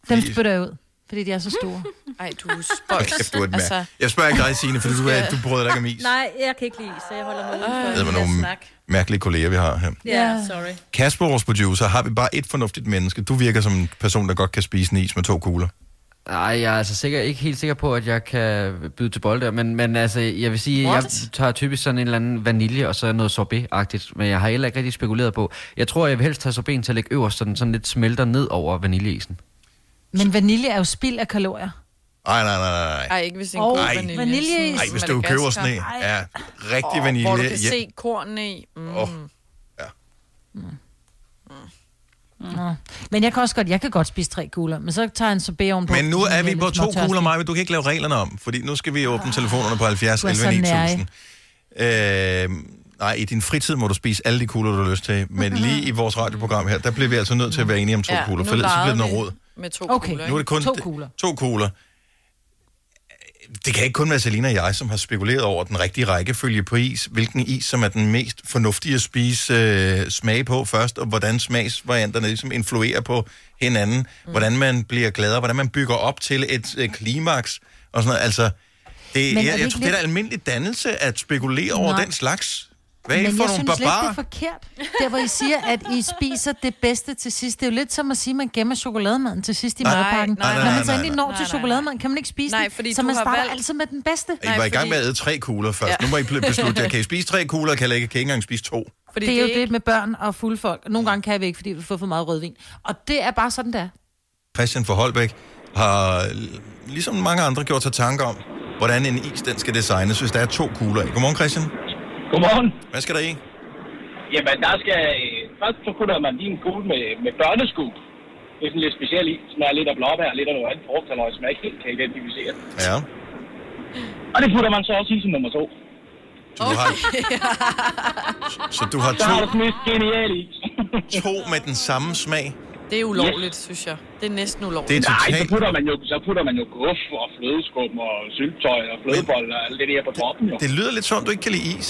S7: Dem spytter jeg ud, fordi de er så store.
S3: *laughs* Ej, du er
S1: Hold kæft, du er et altså, jeg spørger ikke dig, Signe, for du, er- du prøver dig ikke om is.
S5: Nej, jeg kan ikke lide, så jeg holder mig uden
S1: Det er
S5: for den
S1: med
S5: her
S1: nogle
S5: snak.
S1: mærkelige kolleger, vi har her.
S5: Ja, sorry.
S1: Kasper, vores producer, har vi bare et fornuftigt menneske. Du virker som en person, der godt kan spise en is med to kugler.
S4: Nej, jeg er altså sikker, ikke helt sikker på, at jeg kan byde til bold der, men, men altså, jeg vil sige,
S3: What?
S4: jeg tager typisk sådan en eller anden vanilje og så noget sorbet-agtigt, men jeg har heller ikke rigtig spekuleret på. Jeg tror, jeg vil helst tage sorbeten til at lægge øverst, så den sådan lidt smelter ned over vaniljeisen.
S7: Men vanilje er jo spild af kalorier.
S1: Nej, nej, nej, nej.
S3: Ej, ikke hvis det er en
S7: Og
S3: god vanilje.
S7: vaniljeis.
S1: Ej, hvis du køber sådan en. Ja, rigtig
S3: Åh,
S1: vanilje.
S3: Hvor du kan
S1: ja.
S3: se kornene i. Mm.
S1: Åh.
S7: Nå. Men jeg kan også godt, jeg kan godt spise tre kugler, men så tager jeg en sorbet ovenpå.
S1: Men nu
S7: fordi
S1: er
S7: jeg
S1: vi
S7: lidt
S1: på to
S7: småtørstig.
S1: kugler, Maja. Du kan ikke lave reglerne om, fordi nu skal vi åbne telefonerne på 70
S7: Du er så
S1: 11 9000.
S7: nærig.
S1: Øh, nej, i din fritid må du spise alle de kugler, du har lyst til. Men lige i vores radioprogram her, der bliver vi altså nødt til at være enige om to
S3: Ja,
S1: kugler,
S3: nu
S1: for ellers så bliver
S3: legede
S1: det noget
S3: vi
S1: råd.
S3: Med to
S7: Okay.
S3: kugler,
S1: Nu er det kun
S7: To kugler.
S1: To kugler. Det kan ikke kun være Selina og jeg, som har spekuleret over den rigtige rækkefølge på is. Hvilken is, som er den mest fornuftige at spise øh, smag på først, og hvordan smagsvarianterne ligesom influerer på hinanden. Mm. Hvordan man bliver gladere, hvordan man bygger op til et øh, klimaks og sådan noget. Altså, det,
S7: Men er
S1: jeg,
S7: det
S1: jeg tror,
S7: ikke
S1: det er
S7: lidt-
S1: da almindelig dannelse at spekulere over
S7: Nej.
S1: den slags. Hvad er I
S7: Men
S1: for
S7: jeg
S1: nogle
S7: synes lidt, det er
S1: barbarer?
S7: forkert. Der, hvor I siger, at I spiser det bedste til sidst. Det er jo lidt som at sige, at man gemmer chokolademaden til sidst i
S1: Nej,
S7: madpakken.
S1: nej, nej,
S7: Når
S1: nej,
S7: man så
S1: nej,
S7: endelig
S1: nej.
S7: når til chokolademaden, kan man ikke spise
S3: Nej,
S7: den.
S3: fordi
S7: så
S3: du
S7: man
S3: har
S7: starter
S3: valgt-
S7: altid med den bedste.
S1: I var i gang med at æde tre kugler først.
S7: Ja.
S1: Ja. Nu må I bl-
S7: *laughs*
S1: beslutte, jer. kan I spise tre kugler, kan I ikke, kan I ikke engang spise to.
S7: Fordi det er jo det med børn og fulde folk. Nogle gange kan vi ikke, fordi vi får for meget rødvin. Og det er bare sådan, der.
S1: Christian for Holbæk har ligesom mange andre gjort sig tanker om, hvordan en is den skal designes, hvis der er to kugler i. Godmorgen, Christian.
S12: Godmorgen.
S1: Hvad skal der i?
S12: Jamen, der skal... øh, Først så putter man lige en kugle med, med børneskum. Det er sådan lidt specielt i. Smager lidt af blåbær, lidt af noget andet frugt, eller som jeg ikke helt kan identificere.
S1: Ja.
S12: Og det putter man så også i som nummer to.
S1: Du har,
S3: *laughs*
S1: så du har
S12: Så har du
S1: to,
S12: sådan et genialt i.
S1: to med den samme smag.
S3: Det er ulovligt, synes jeg. Det er næsten ulovligt.
S1: Det er
S12: Nej,
S1: totalt-
S12: så putter, man jo, så putter man jo guf og flødeskum og syltøj og flødeboller og alt det der på toppen. Jo.
S1: Det lyder lidt som, om, du ikke kan lide is.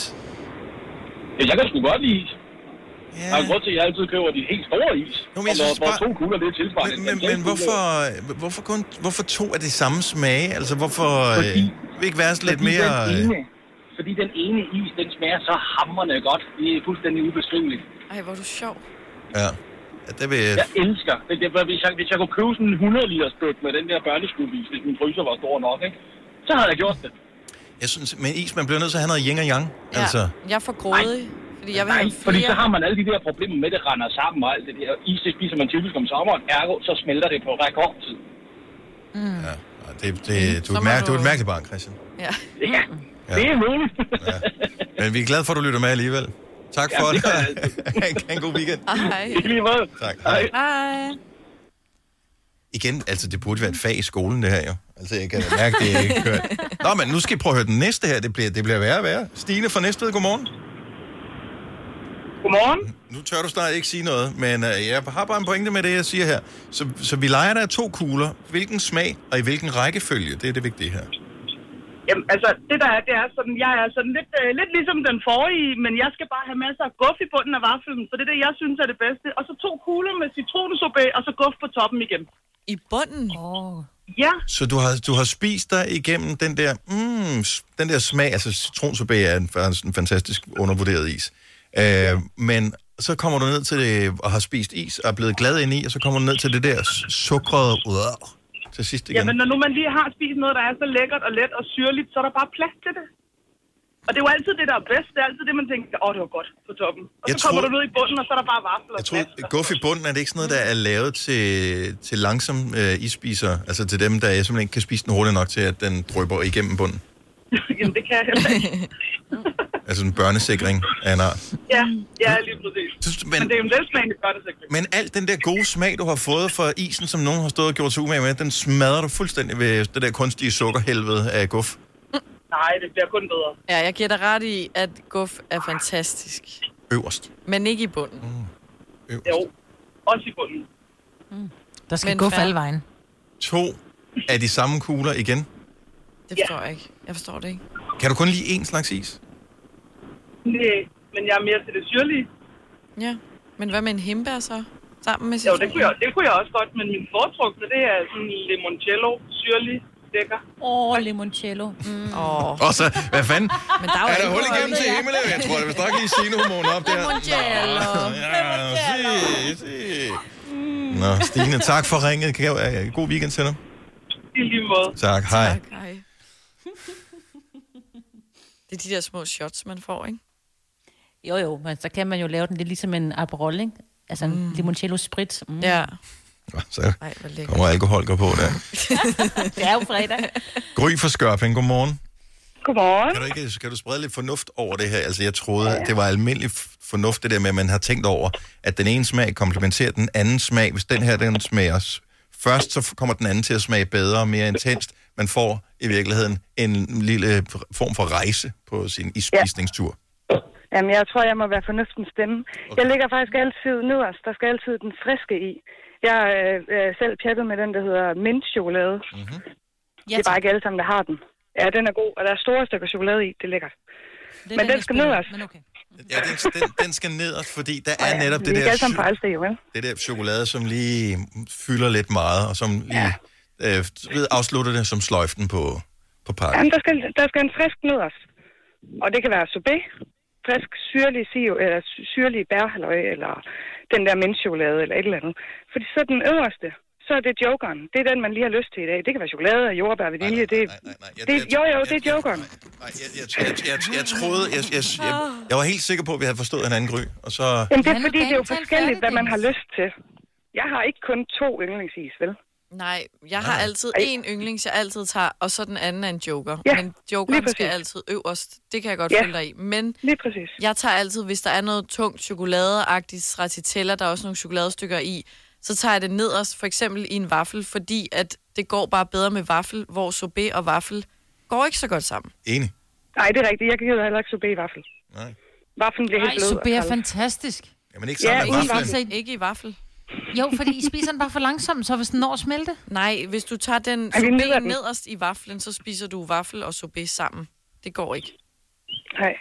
S12: Ja, jeg kan sgu godt lide is. Ja. Der er en grund til, at jeg altid køber de helt store is. Jo,
S1: Jo, men
S12: men
S1: jeg
S12: og hvor,
S1: synes
S12: hvor
S1: bare-
S12: to kugler, det er tilsvarende.
S1: Men, men hvorfor, hvorfor, kun, hvorfor to af de samme smage? Altså, hvorfor øh,
S12: Fordi-
S1: vil ikke være sådan lidt
S12: fordi
S1: mere...
S12: Den ene,
S1: Øh,
S12: fordi den ene is, den smager så hammerne godt. Det er fuldstændig ubeskriveligt.
S3: Ej, hvor er du sjov.
S1: ja. ja, det vil jeg...
S12: Jeg elsker. Det, det, hvis, jeg, hvis jeg kunne købe sådan en 100 liters bøk med den der børneskubis, hvis min fryser var stor nok, ikke? så havde jeg gjort det.
S1: Jeg synes, men is, man bliver nødt til at have noget yin og yang. Ja. Altså,
S3: Jeg er for grådig, fordi jeg vil have
S12: Fordi
S3: flere.
S12: så har man alle de der problemer med, det render sammen og alt det der. Is, det spiser man typisk om sommeren. Ergo, så smelter det på rekordtid.
S3: Mm.
S1: Ja. det, det, du,
S12: Så
S1: er et
S12: må
S1: mær- du...
S12: du-
S1: er et mærkeligt barn, Christian.
S3: Ja.
S12: ja. Det er muligt.
S1: Men vi er glade for, at du lytter med alligevel. Tak
S12: Ja,
S1: for
S12: det
S1: det.
S12: gør jeg
S1: *laughs* Ha' en god weekend.
S3: Ah, Hej.
S12: Ikke lige måde.
S1: Tak. Hej.
S3: Hej.
S1: Igen, altså, det burde være et fag i skolen, det her jo. Altså, jeg kan da mærke, det er ikke hørt. Nå, men nu skal I prøve at høre den næste her. Det bliver, det bliver værre og værre. Stine fra Næstved, godmorgen.
S12: Godmorgen.
S1: Nu tør du snart ikke sige noget, men øh, jeg har bare en pointe med det, jeg siger her. Så, så vi leger, der er to kugler. Hvilken smag og i hvilken rækkefølge? Det er det vigtige her.
S14: Jamen, altså, det der er, det er sådan, jeg er sådan lidt, øh, lidt ligesom den forrige, men jeg skal bare have masser af guf i bunden af vaflen, for det er det, jeg synes er det bedste. Og så to kugler med citronsorbet, og så guf på toppen igen.
S3: I bunden?
S14: Åh. Oh. Ja,
S1: Så du har, du har spist dig igennem den der, mm, s- den der smag, altså citronsorbet er en, er en fantastisk undervurderet is. Øh, men så kommer du ned til det, og har spist is, og er blevet glad ind i, og så kommer du ned til det der s- sukrede øh, til sidst igen.
S14: Jamen, når nu man lige har spist noget, der er så lækkert og let og syrligt, så er der bare plads til det. Og det er jo altid det, der er bedst. Det er altid det, man tænker, åh, oh, det var godt på toppen. Og
S1: Jeg
S14: så kommer
S1: troede-
S14: du ned i bunden, og så er der bare vafler.
S1: Jeg tror, guff i bunden, er det ikke sådan noget, der er lavet til, til langsom øh, ispiser? Altså til dem, der simpelthen ikke kan spise den hurtigt nok til, at den drøber igennem bunden?
S14: *laughs* Jamen, det kan jeg heller
S1: *laughs*
S14: ikke.
S1: Altså en børnesikring af en art.
S14: Ja, ja, lige præcis. Men, men det er jo en velsmagende børnesækning.
S1: Men alt den der gode smag, du har fået fra isen, som nogen har stået og gjort sig umage med, den smadrer du fuldstændig ved det der kunstige sukkerhelvede af guf.
S14: Nej, det bliver kun bedre.
S3: Mm. Ja, jeg giver dig ret i, at guf er fantastisk.
S1: Øverst.
S3: Men ikke i bunden.
S1: Mm.
S14: Jo, også i bunden.
S7: Der skal
S3: Mm. Men
S7: gå for
S3: fair.
S7: alle vejen.
S1: To af de samme kugler igen.
S3: Det forstår jeg ikke. Jeg forstår det ikke.
S1: Kan du kun lide én slags is?
S14: Nej, men jeg er mere til det syrlige.
S3: Ja. Men hvad med en himbær så? Sammen med
S14: Jo,
S3: citron?
S14: det kunne, jeg, det kunne jeg også godt, men min foretrukne, det er sådan limoncello, syrlig, lækker.
S5: Åh, oh, limoncello. Mm.
S3: Oh.
S1: Og så, hvad fanden?
S3: Men
S5: der er jo
S1: er der
S5: ikke
S1: hul
S5: noget
S1: igennem
S5: hul,
S1: til
S5: ja.
S1: himlen? Jeg tror, det vil nok lige sine hormoner op der.
S5: Limoncello.
S1: Nå, Ja, se, se. Nå, Stine, tak for ringet. Kan jeg- øh, God weekend til dig.
S14: I lige måde.
S1: Tak, hej.
S3: Tak, hej. Det er de der små shots, man får, ikke?
S5: Jo, jo, men så kan man jo lave den lidt ligesom en Aperol, ikke? Altså en mm. limoncello sprit. Mm.
S3: Ja.
S1: Så
S3: Ej, hvor lækkert.
S1: kommer alkohol går på der.
S5: *laughs* det er jo fredag.
S3: *laughs*
S1: Gry fra Skørping, godmorgen.
S14: Godmorgen.
S1: Kan du, ikke, kan du sprede lidt fornuft over det her? Altså, jeg troede, ja. det var almindelig f- fornuft, det der med, at man har tænkt over, at den ene smag komplementerer den anden smag. Hvis den her, den smager s- først, så f- kommer den anden til at smage bedre og mere intenst. Man får i virkeligheden en lille øh, form for rejse på sin ispisningstur.
S16: Jamen, jeg tror, jeg må være fornuftens stemme. Okay. Jeg ligger faktisk altid nederst. Der skal altid den friske i. Jeg øh, er selv pjattet med den, der hedder mintchokolade.
S1: Mhm.
S16: Mm-hmm. det er bare ikke alle sammen, der har den. Ja, den er god, og der er store stykker chokolade i. Det er lækkert.
S7: er
S16: Det men
S7: den,
S16: den
S7: jeg
S16: skal
S7: spiller,
S16: nederst.
S1: Ja, den, den, den skal nederst, fordi der er netop
S16: Vi altså
S1: det
S16: er
S1: der...
S16: ikke alle sammen
S1: sy-
S16: på Alsted, jo, vel?
S1: det der chokolade, som lige fylder lidt meget, og som lige ja. øh, du ved, afslutter det som sløjften på, på pakken.
S16: Jamen, der skal, der skal en frisk nederst. Og det kan være sorbet, frisk syrlig, sio, eller sy- syrlig bærhalløj, eller den der mintchokolade, eller et eller andet. Fordi så den øverste, så er det jokeren. Det er den, man lige har lyst til i dag. Det kan være chokolade og jordbær ved vilje. Det, det, jo, jo, det er jokeren.
S1: Jeg, jeg, jeg, jeg troede, jeg, jeg, jeg, jeg var helt sikker på, at vi havde forstået hinanden gry, og så...
S16: Jamen, det er fordi, det er jo forskelligt, hvad man har lyst til. Jeg har ikke kun to yndlingsis, vel?
S3: Nej, jeg har altid en yndlings, jeg altid tager, og så den anden er en joker.
S16: Ja,
S3: Men
S16: lige
S3: jokeren
S16: præcis.
S3: skal altid øverst. Det kan jeg godt
S16: Ja,
S3: følge dig i. Men
S16: lige præcis.
S3: jeg tager altid, hvis der er noget tungt chokoladeagtigt stracciatella, der er også nogle chokoladestykker i, så tager jeg det nederst, for eksempel i en vaffel, fordi at det går bare bedre med vaffel, hvor sorbet og vaffel går ikke så godt sammen.
S1: Enig.
S16: Nej, det er rigtigt. Jeg kan heller ikke sorbet i vaffel.
S1: Nej.
S16: Vaffelen bliver helt
S7: Ej,
S16: blød. og
S7: sorbet er
S16: kold.
S7: fantastisk.
S1: Jamen ikke
S16: Ja,
S1: sammen med
S16: ikke
S1: vaflen.
S7: Altså,
S3: ikke i vaffel.
S7: Jo, fordi I spiser den bare for langsomt, så hvis den når at smelte.
S3: Nej, hvis du tager Altså, den
S7: Ej, vi nyder
S3: sorbet
S7: den.
S3: nederst i vaflen, så spiser du vaffel og sorbet sammen. Det går ikke.
S16: Nej.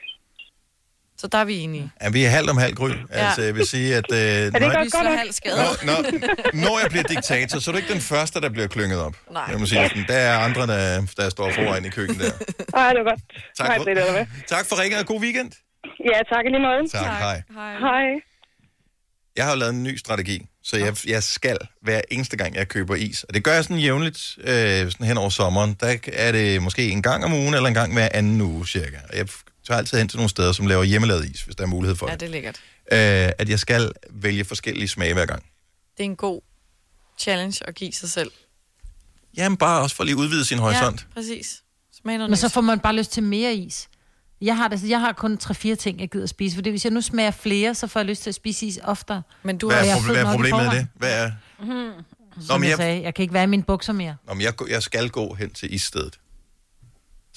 S3: Så der er vi enige.
S1: Ja, vi er halvt om halvt gry. Altså,
S3: Ja.
S1: jeg vil sige, at... Øh, er
S3: ikke også Vi godt slår nok? halv skade?
S1: Når, når, når jeg bliver diktator, så er du ikke den første, der bliver klynget op.
S14: Nej.
S1: Jeg må sige, sådan, der er andre, der, der står foran i køkkenet der.
S14: Ej, det var godt.
S1: Tak
S14: Hej,
S1: for-
S14: Britt, eller hvad?
S1: Tak for ringen, og god weekend.
S14: Ja, tak i lige måde.
S1: Tak, Tak. hej.
S14: Hej.
S1: Jeg har jo lavet en ny strategi, så jeg, jeg skal hver eneste gang, jeg køber is. Og det gør jeg sådan jævnligt øh, sådan hen over sommeren. Der er det måske en gang om ugen, eller en gang hver anden uge cirka. Og jeg tager altid hen til nogle steder, som laver hjemmelavet is, hvis der er mulighed for
S3: Ja,
S1: det.
S3: det er lækkert.
S1: Øh, at jeg skal vælge forskellige smage hver gang.
S3: Det er en god challenge at give sig selv.
S1: Jamen bare også for lige at udvide sin horisont.
S3: Ja, præcis. Smag noget
S7: Men så
S3: nyt.
S7: får man bare lyst til mere is. Jeg har, det, jeg har kun 3-4 ting, jeg gider spise, fordi hvis jeg nu smager flere, så får jeg lyst til at spise is oftere.
S3: Men
S1: Du hvad, er proble- hvad er problemet med det? Hvad er...
S7: Mm.
S1: Nå,
S7: Som
S1: men jeg-
S7: jeg, jeg sagde, jeg kan ikke være i mine bukser mere.
S1: Nå, men jeg, gå- jeg skal gå hen til isstedet. Så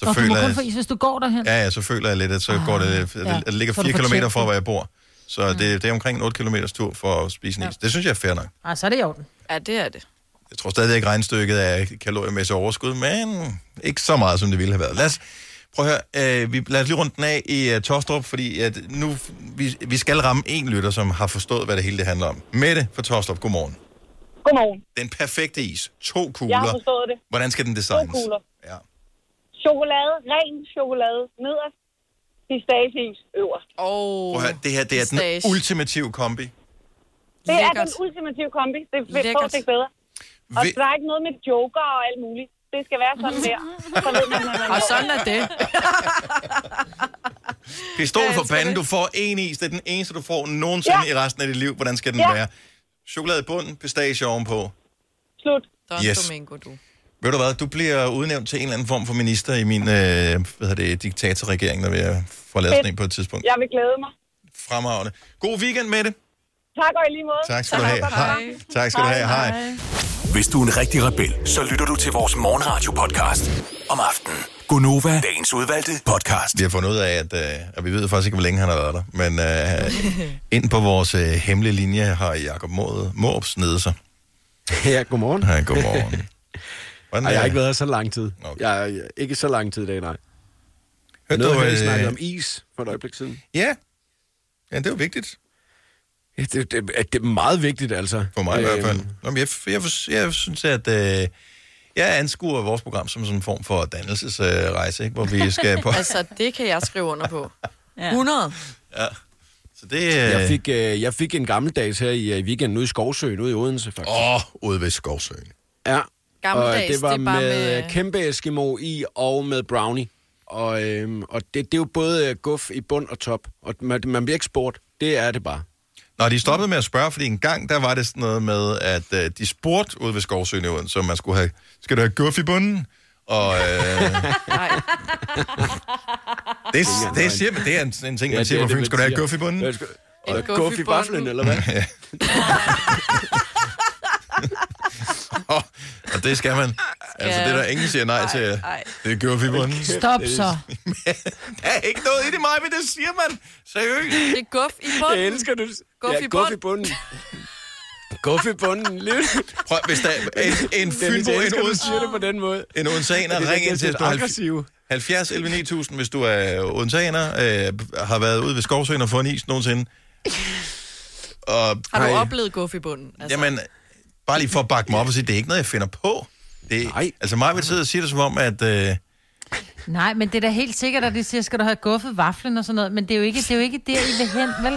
S7: Og du må
S1: føler
S7: kun
S1: jeg,
S7: få is, hvis du går derhen.
S1: ja, ja, så føler jeg lidt, at så
S7: Ah,
S1: går det, at
S7: ja.
S1: det, at det ligger
S7: Så er du
S1: 4
S7: på
S1: km fra,
S7: tætsen.
S1: hvor jeg bor. Så det, det er omkring en 8 km tur for at spise en is. Det synes jeg er fair nok.
S7: Ej, så er det i orden.
S3: Ja, det er det.
S1: Jeg tror stadig ikke regnstykket af kaloriemæssigt overskud, men ikke så meget, som det ville have været. Lad os, prøv at høre, øh, vi, lad os lige runde den af i uh, Tostrup, fordi at nu, vi, vi skal ramme en lytter, som har forstået, hvad det hele det handler om. Mette fra Tostrup, godmorgen.
S17: Godmorgen.
S1: Den perfekte is. To
S17: Jeg har
S1: kugler.
S17: forstået det.
S1: Hvordan skal den
S17: To
S1: designes?
S17: kugler.
S1: Ja.
S17: Chokolade, ren chokolade nederst, pistachieis øverst.
S3: Oh,
S1: Prøv at høre, det her det er den ultimative kombi.
S17: det er
S1: Lækkert.
S17: den ultimative kombi. Det vil
S1: Lækkert.
S17: fås ikke bedre. Og
S1: Vil-
S17: der er ikke noget med joker og alt muligt. Det skal være sådan
S1: *laughs*
S17: der. Så ved man, hvad man
S3: Og
S17: laver.
S3: sådan er det.
S1: Pistol for panden, du får en is. Det er den eneste, du får nogensinde
S17: Ja.
S1: i resten af dit liv. Hvordan skal den
S17: Ja.
S1: være? Chokolade i bunden, pistache ovenpå.
S17: Slut.
S1: Don Yes.
S3: Domingo, du.
S1: Ved du hvad, du bliver udnævnt til en eller anden form for minister i min øh, hvad hedder det, diktatorregering, når vi får lavet sådan en på et tidspunkt.
S17: Jeg vil glæde mig.
S1: Fremragende. God weekend med det.
S17: Tak og i lige måde.
S1: Tak skal du have. Hej. Tak skal du have. Hej.
S6: Hvis du er en rigtig rebel, så lytter du til vores morgenradio-podcast om aftenen.
S1: Gunova,
S6: Dagens udvalgte
S1: podcast. Vi har fundet ud af, at, øh, og vi ved faktisk ikke, hvor længe han har været der, men øh,
S5: *laughs*
S1: ind på vores øh, hemmelige linje har Jacob Måb, Måb snedet sig.
S2: *laughs* Ja, godmorgen.
S1: Ja,
S2: *laughs*
S1: godmorgen. Hvordan
S2: Ej, jeg
S1: er-
S2: har ikke været her så lang tid. Okay. Jeg, jeg, ikke så lang tid i dag, nej.
S1: Hørte
S2: Noget
S1: du,
S2: her, I
S1: øh,
S2: snakkede om is for et øjeblik siden.
S1: Ja. Ja, det er jo vigtigt.
S2: Ja, det, det, at det er meget vigtigt, altså.
S1: For mig i hvert fald. Nå, men jeg, jeg, jeg, jeg synes, at øh, jeg anskuer vores program som sådan en form for dannelsesrejse, øh, rejse, ikke? hvor vi skal på...
S3: *laughs* altså, det kan jeg skrive under på. 100.
S1: Ja. Så det...
S2: Jeg fik, øh, jeg fik en gammeldags her i, øh, i weekenden ude i Skovsøen, ude i Odense, faktisk.
S1: Åh, oh, ude ved Skovsøen.
S2: Ja.
S3: Gammeldags,
S2: og det var
S3: det er bare
S2: med,
S3: med-
S2: med kæmpe Eskimo i og med brownie. Og, øhm, og det, det er jo både øh, guf i bund og top. Og man, man bliver ikke spurgt. Det er det bare.
S1: Nå, de stoppede med at spørge, fordi en gang, der var det sådan noget med, at øh, de spurgte ude ved Skovsøen, i Odense, om man skulle have, skal du have guff i bunden?
S2: *laughs*
S1: Og øh, det, det, siger man, det er en, en ting, man
S2: Ja,
S1: ja,
S2: det er
S1: siger på
S2: det,
S1: Fyn.
S2: man
S1: Skal du have
S2: siger.
S1: guff i bunden?
S2: Ja, skal- Og guf i baflen, eller hvad?
S1: *laughs*
S2: *laughs*
S1: Ja. og, og det skal man. Altså, det er der ingen siger nej til. Det er guff i bunden.
S7: Stop
S1: *laughs*
S7: så.
S1: Der er ikke noget i det, Maja, men det siger man. Seriøst.
S3: Det er guf i bunden.
S2: Jeg elsker det.
S3: Guf
S2: ja,
S3: i
S2: guf i
S3: bunden.
S2: bunden. guf i bunden. Lidt.
S1: Prøv, hvis der er en, en
S2: Dennis,
S1: fynbo,
S2: jeg
S1: en
S2: elsker, du
S1: Odense-
S2: siger det på den måde.
S1: En
S2: Det
S1: odenseaner,
S2: er
S1: ring ind til,
S2: lidt
S1: hvis du er
S2: aggressiv.
S1: 70 11 9000, hvis du er odenseaner, øh, har været ude ved Skovsøen og fået en is nogensinde.
S3: *laughs*
S1: Og,
S3: Har du oplevet guf i bunden?
S1: Altså. Jamen, bare lige for at bakke mig op og sige, det er ikke noget, jeg finder på. Det, Nej. Altså mig vil sidde og sige det som om, at... Øh,
S7: Nej, men det er da helt sikkert, at de siger, skal du have guffet vaflen og sådan noget, men det er jo ikke, det er jo ikke der, I vil hen, vel?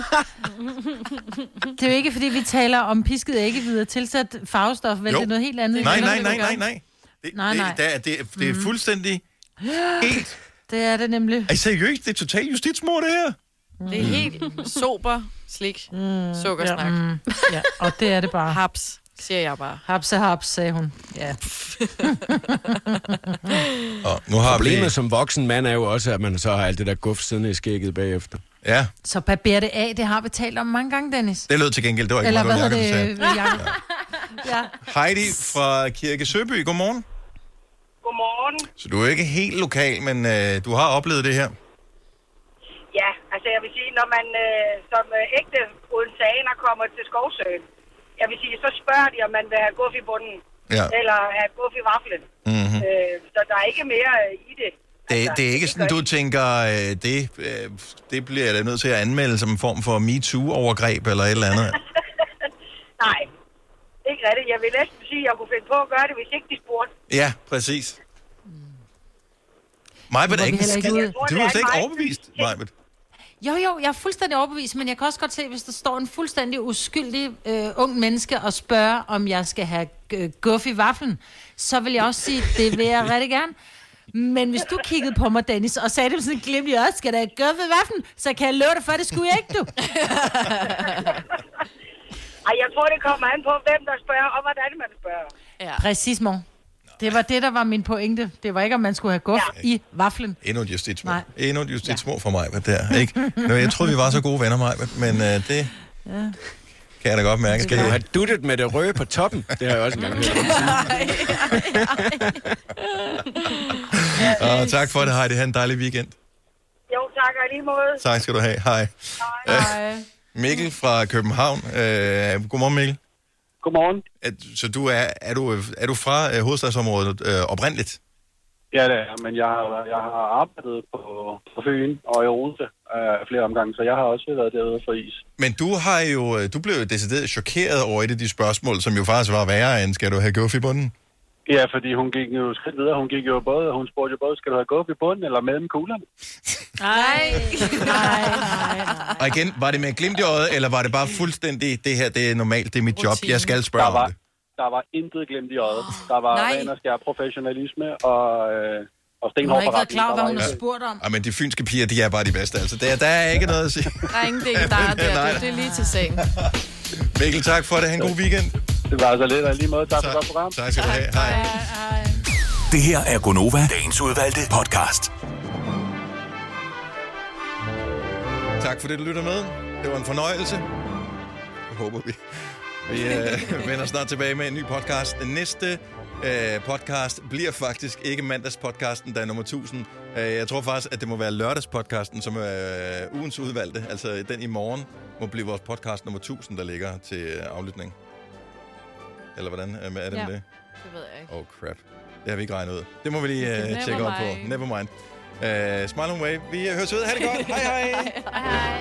S7: Det er jo ikke, fordi vi taler om pisket æggehvide og tilsat farvestof, vel?
S1: Jo.
S7: Det er noget helt andet.
S1: Nej,
S7: Det er
S1: nej,
S7: noget,
S1: nej,
S7: du
S1: nej,
S7: gør.
S1: nej. Det,
S7: Nej, nej.
S1: Det, der, er- det, er- det er
S3: Mm.
S1: fuldstændig... Helt.
S7: Det er det nemlig. Mm.
S1: Ej, seriøst, det er totalt justitsmord, det her.
S3: Det er helt sober slik mm, sukkersnak.
S7: Ja. Mm. ja, og det er det bare.
S3: Haps, siger jeg bare.
S7: Hapse, haps, sagde hun. Ja.
S1: *laughs* Og nu har
S2: Problemet
S1: vi-
S2: som voksen mand er jo også, at man så har alt det der guf siddende i skægget bagefter.
S1: Ja.
S7: Så barber det af, det har vi talt om mange gange, Dennis.
S1: Det lød til gengæld, det var ikke
S7: Eller
S1: Margot
S7: hvad hedder
S1: Jacobsen
S7: det? Jacob? ja.
S1: Heidi fra Kirke Søby, godmorgen.
S17: Godmorgen.
S1: Så du er ikke helt lokal, men øh, du har oplevet det her.
S17: Ja, altså jeg vil sige, når man øh, som øh, ægte odenseaner kommer til Skovsøen, jeg vil sige, så spørger de, om man vil have guff i bunden,
S1: Ja.
S17: eller have guff i vaflen.
S1: Mhm.
S17: Øh, så der er ikke mere øh, i det.
S1: Det, Altså, det er ikke sådan, du tænker, øh, det, øh, det bliver jeg da nødt til at anmelde som en form for MeToo-overgreb eller et eller andet.
S17: Nej, ikke rigtigt. Jeg vil næsten sige, at jeg kunne finde på at gøre det, hvis ikke de spurgte.
S1: Ja, præcis. Majbet er ikke,
S7: heller ikke
S1: skid-
S7: ude.
S1: du er slet ikke overbevist, Majbet.
S7: Jo, jo, jeg er fuldstændig overbevist, men jeg kan også godt se, hvis der står en fuldstændig uskyldig øh, ung menneske og spørger, om jeg skal have øh, guff i vaflen, så vil jeg også sige, det vil jeg rigtig gerne. Men hvis du kiggede på mig, Dennis, og sagde det med sådan en glimt i øjet, skal der have guff i vaflen, så kan jeg love dig for, det skulle jeg ikke, du.
S17: *laughs* Ej, jeg tror, det kommer an på, hvem der spørger, og hvordan man spørger.
S3: Ja.
S7: Præcis, mor. Det var det, der var min pointe. Det var ikke, om man skulle have guff ja. i vaflen.
S1: Endnu et justitsmål.
S7: Nej.
S1: Endnu et justitsmål for Majbet der, ikke? Nå, jeg troede, vi var så gode venner, Majbet, men øh, det
S7: Ja.
S1: kan jeg da godt mærke.
S2: Skal du have duttet med det røde på toppen? Det har jeg også engang hørt.
S1: *laughs* Og tak for det, Heidi. Ha' en dejlig weekend.
S17: *laughs* Jo, tak, og i lige måde.
S1: Tak skal du have. Hej.
S17: Hej.
S1: Mikkel fra København. Øh, godmorgen, Mikkel.
S18: Godmorgen.
S1: At, så du er, er, du, er du fra øh, hovedstadsområdet øh, oprindeligt?
S18: *laughs* Ja, det er, men jeg, har- jeg har arbejdet på, på Fyn og i Odense øh, flere omgange, så jeg har også været derude for is.
S1: Men du har jo, øh, du blev jo decideret chokeret over et af de spørgsmål, som jo faktisk var værre end, skal du have guff i bunden?
S18: Ja, fordi hun gik jo skridt videre. Hun gik jo både, hun spurgte jo både, skal du have gået i bunden eller mellem kuglerne?
S3: Nej.
S7: Nej.
S1: Og igen, var det med et glimt i øjet, eller var det bare fuldstændig, det her, det er normalt, det er mit job, jeg skal spørge
S18: Der var-
S1: om det?
S18: Der var intet glemt i øjet. Der var
S7: Nej.
S18: ren og skær professionalisme og, øh, og
S7: Hun har
S18: stenhård
S7: ikke været klar, over, hvad hun
S18: Der var
S7: har
S18: intet.
S7: spurgt om.
S1: Ej, Ah, men de fynske piger, de er bare de bedste, altså. Der, der er ikke noget at sige.
S3: Drenge, det er ikke dig,
S1: *laughs*
S3: det er, det er lige til sagen.
S1: Mikkel, tak for det. Ha' en god weekend.
S18: Det var så lidt, og i lige måde, tak for godt program.
S1: Tak skal du have. Hej.
S6: Det her er Gonova, dagens udvalgte podcast.
S1: Tak for det, du lytter med. Det var en fornøjelse. Jeg håber, vi, vi øh, *laughs* vender snart tilbage med en ny podcast. Den næste øh, podcast bliver faktisk ikke mandagspodcasten, der er nummer 1000. Øh, jeg tror faktisk, at det må være lørdagspodcasten, som er øh, ugens udvalgte. Altså den i morgen må blive vores podcast nummer 1000, der ligger til øh, aflytning. Eller hvordan øh, er det
S3: Ja.
S1: med det?
S3: Det ved jeg ikke.
S1: Oh crap. Det har vi ikke regnet ud. Det må vi lige øh,
S3: Never
S1: tjekke op på.
S3: mind.
S1: øh,
S3: *laughs*
S1: Never mind. Uh, smile and wave. Vi øh, høres ved. Ha' det godt. Hej hej.
S3: hej, hej.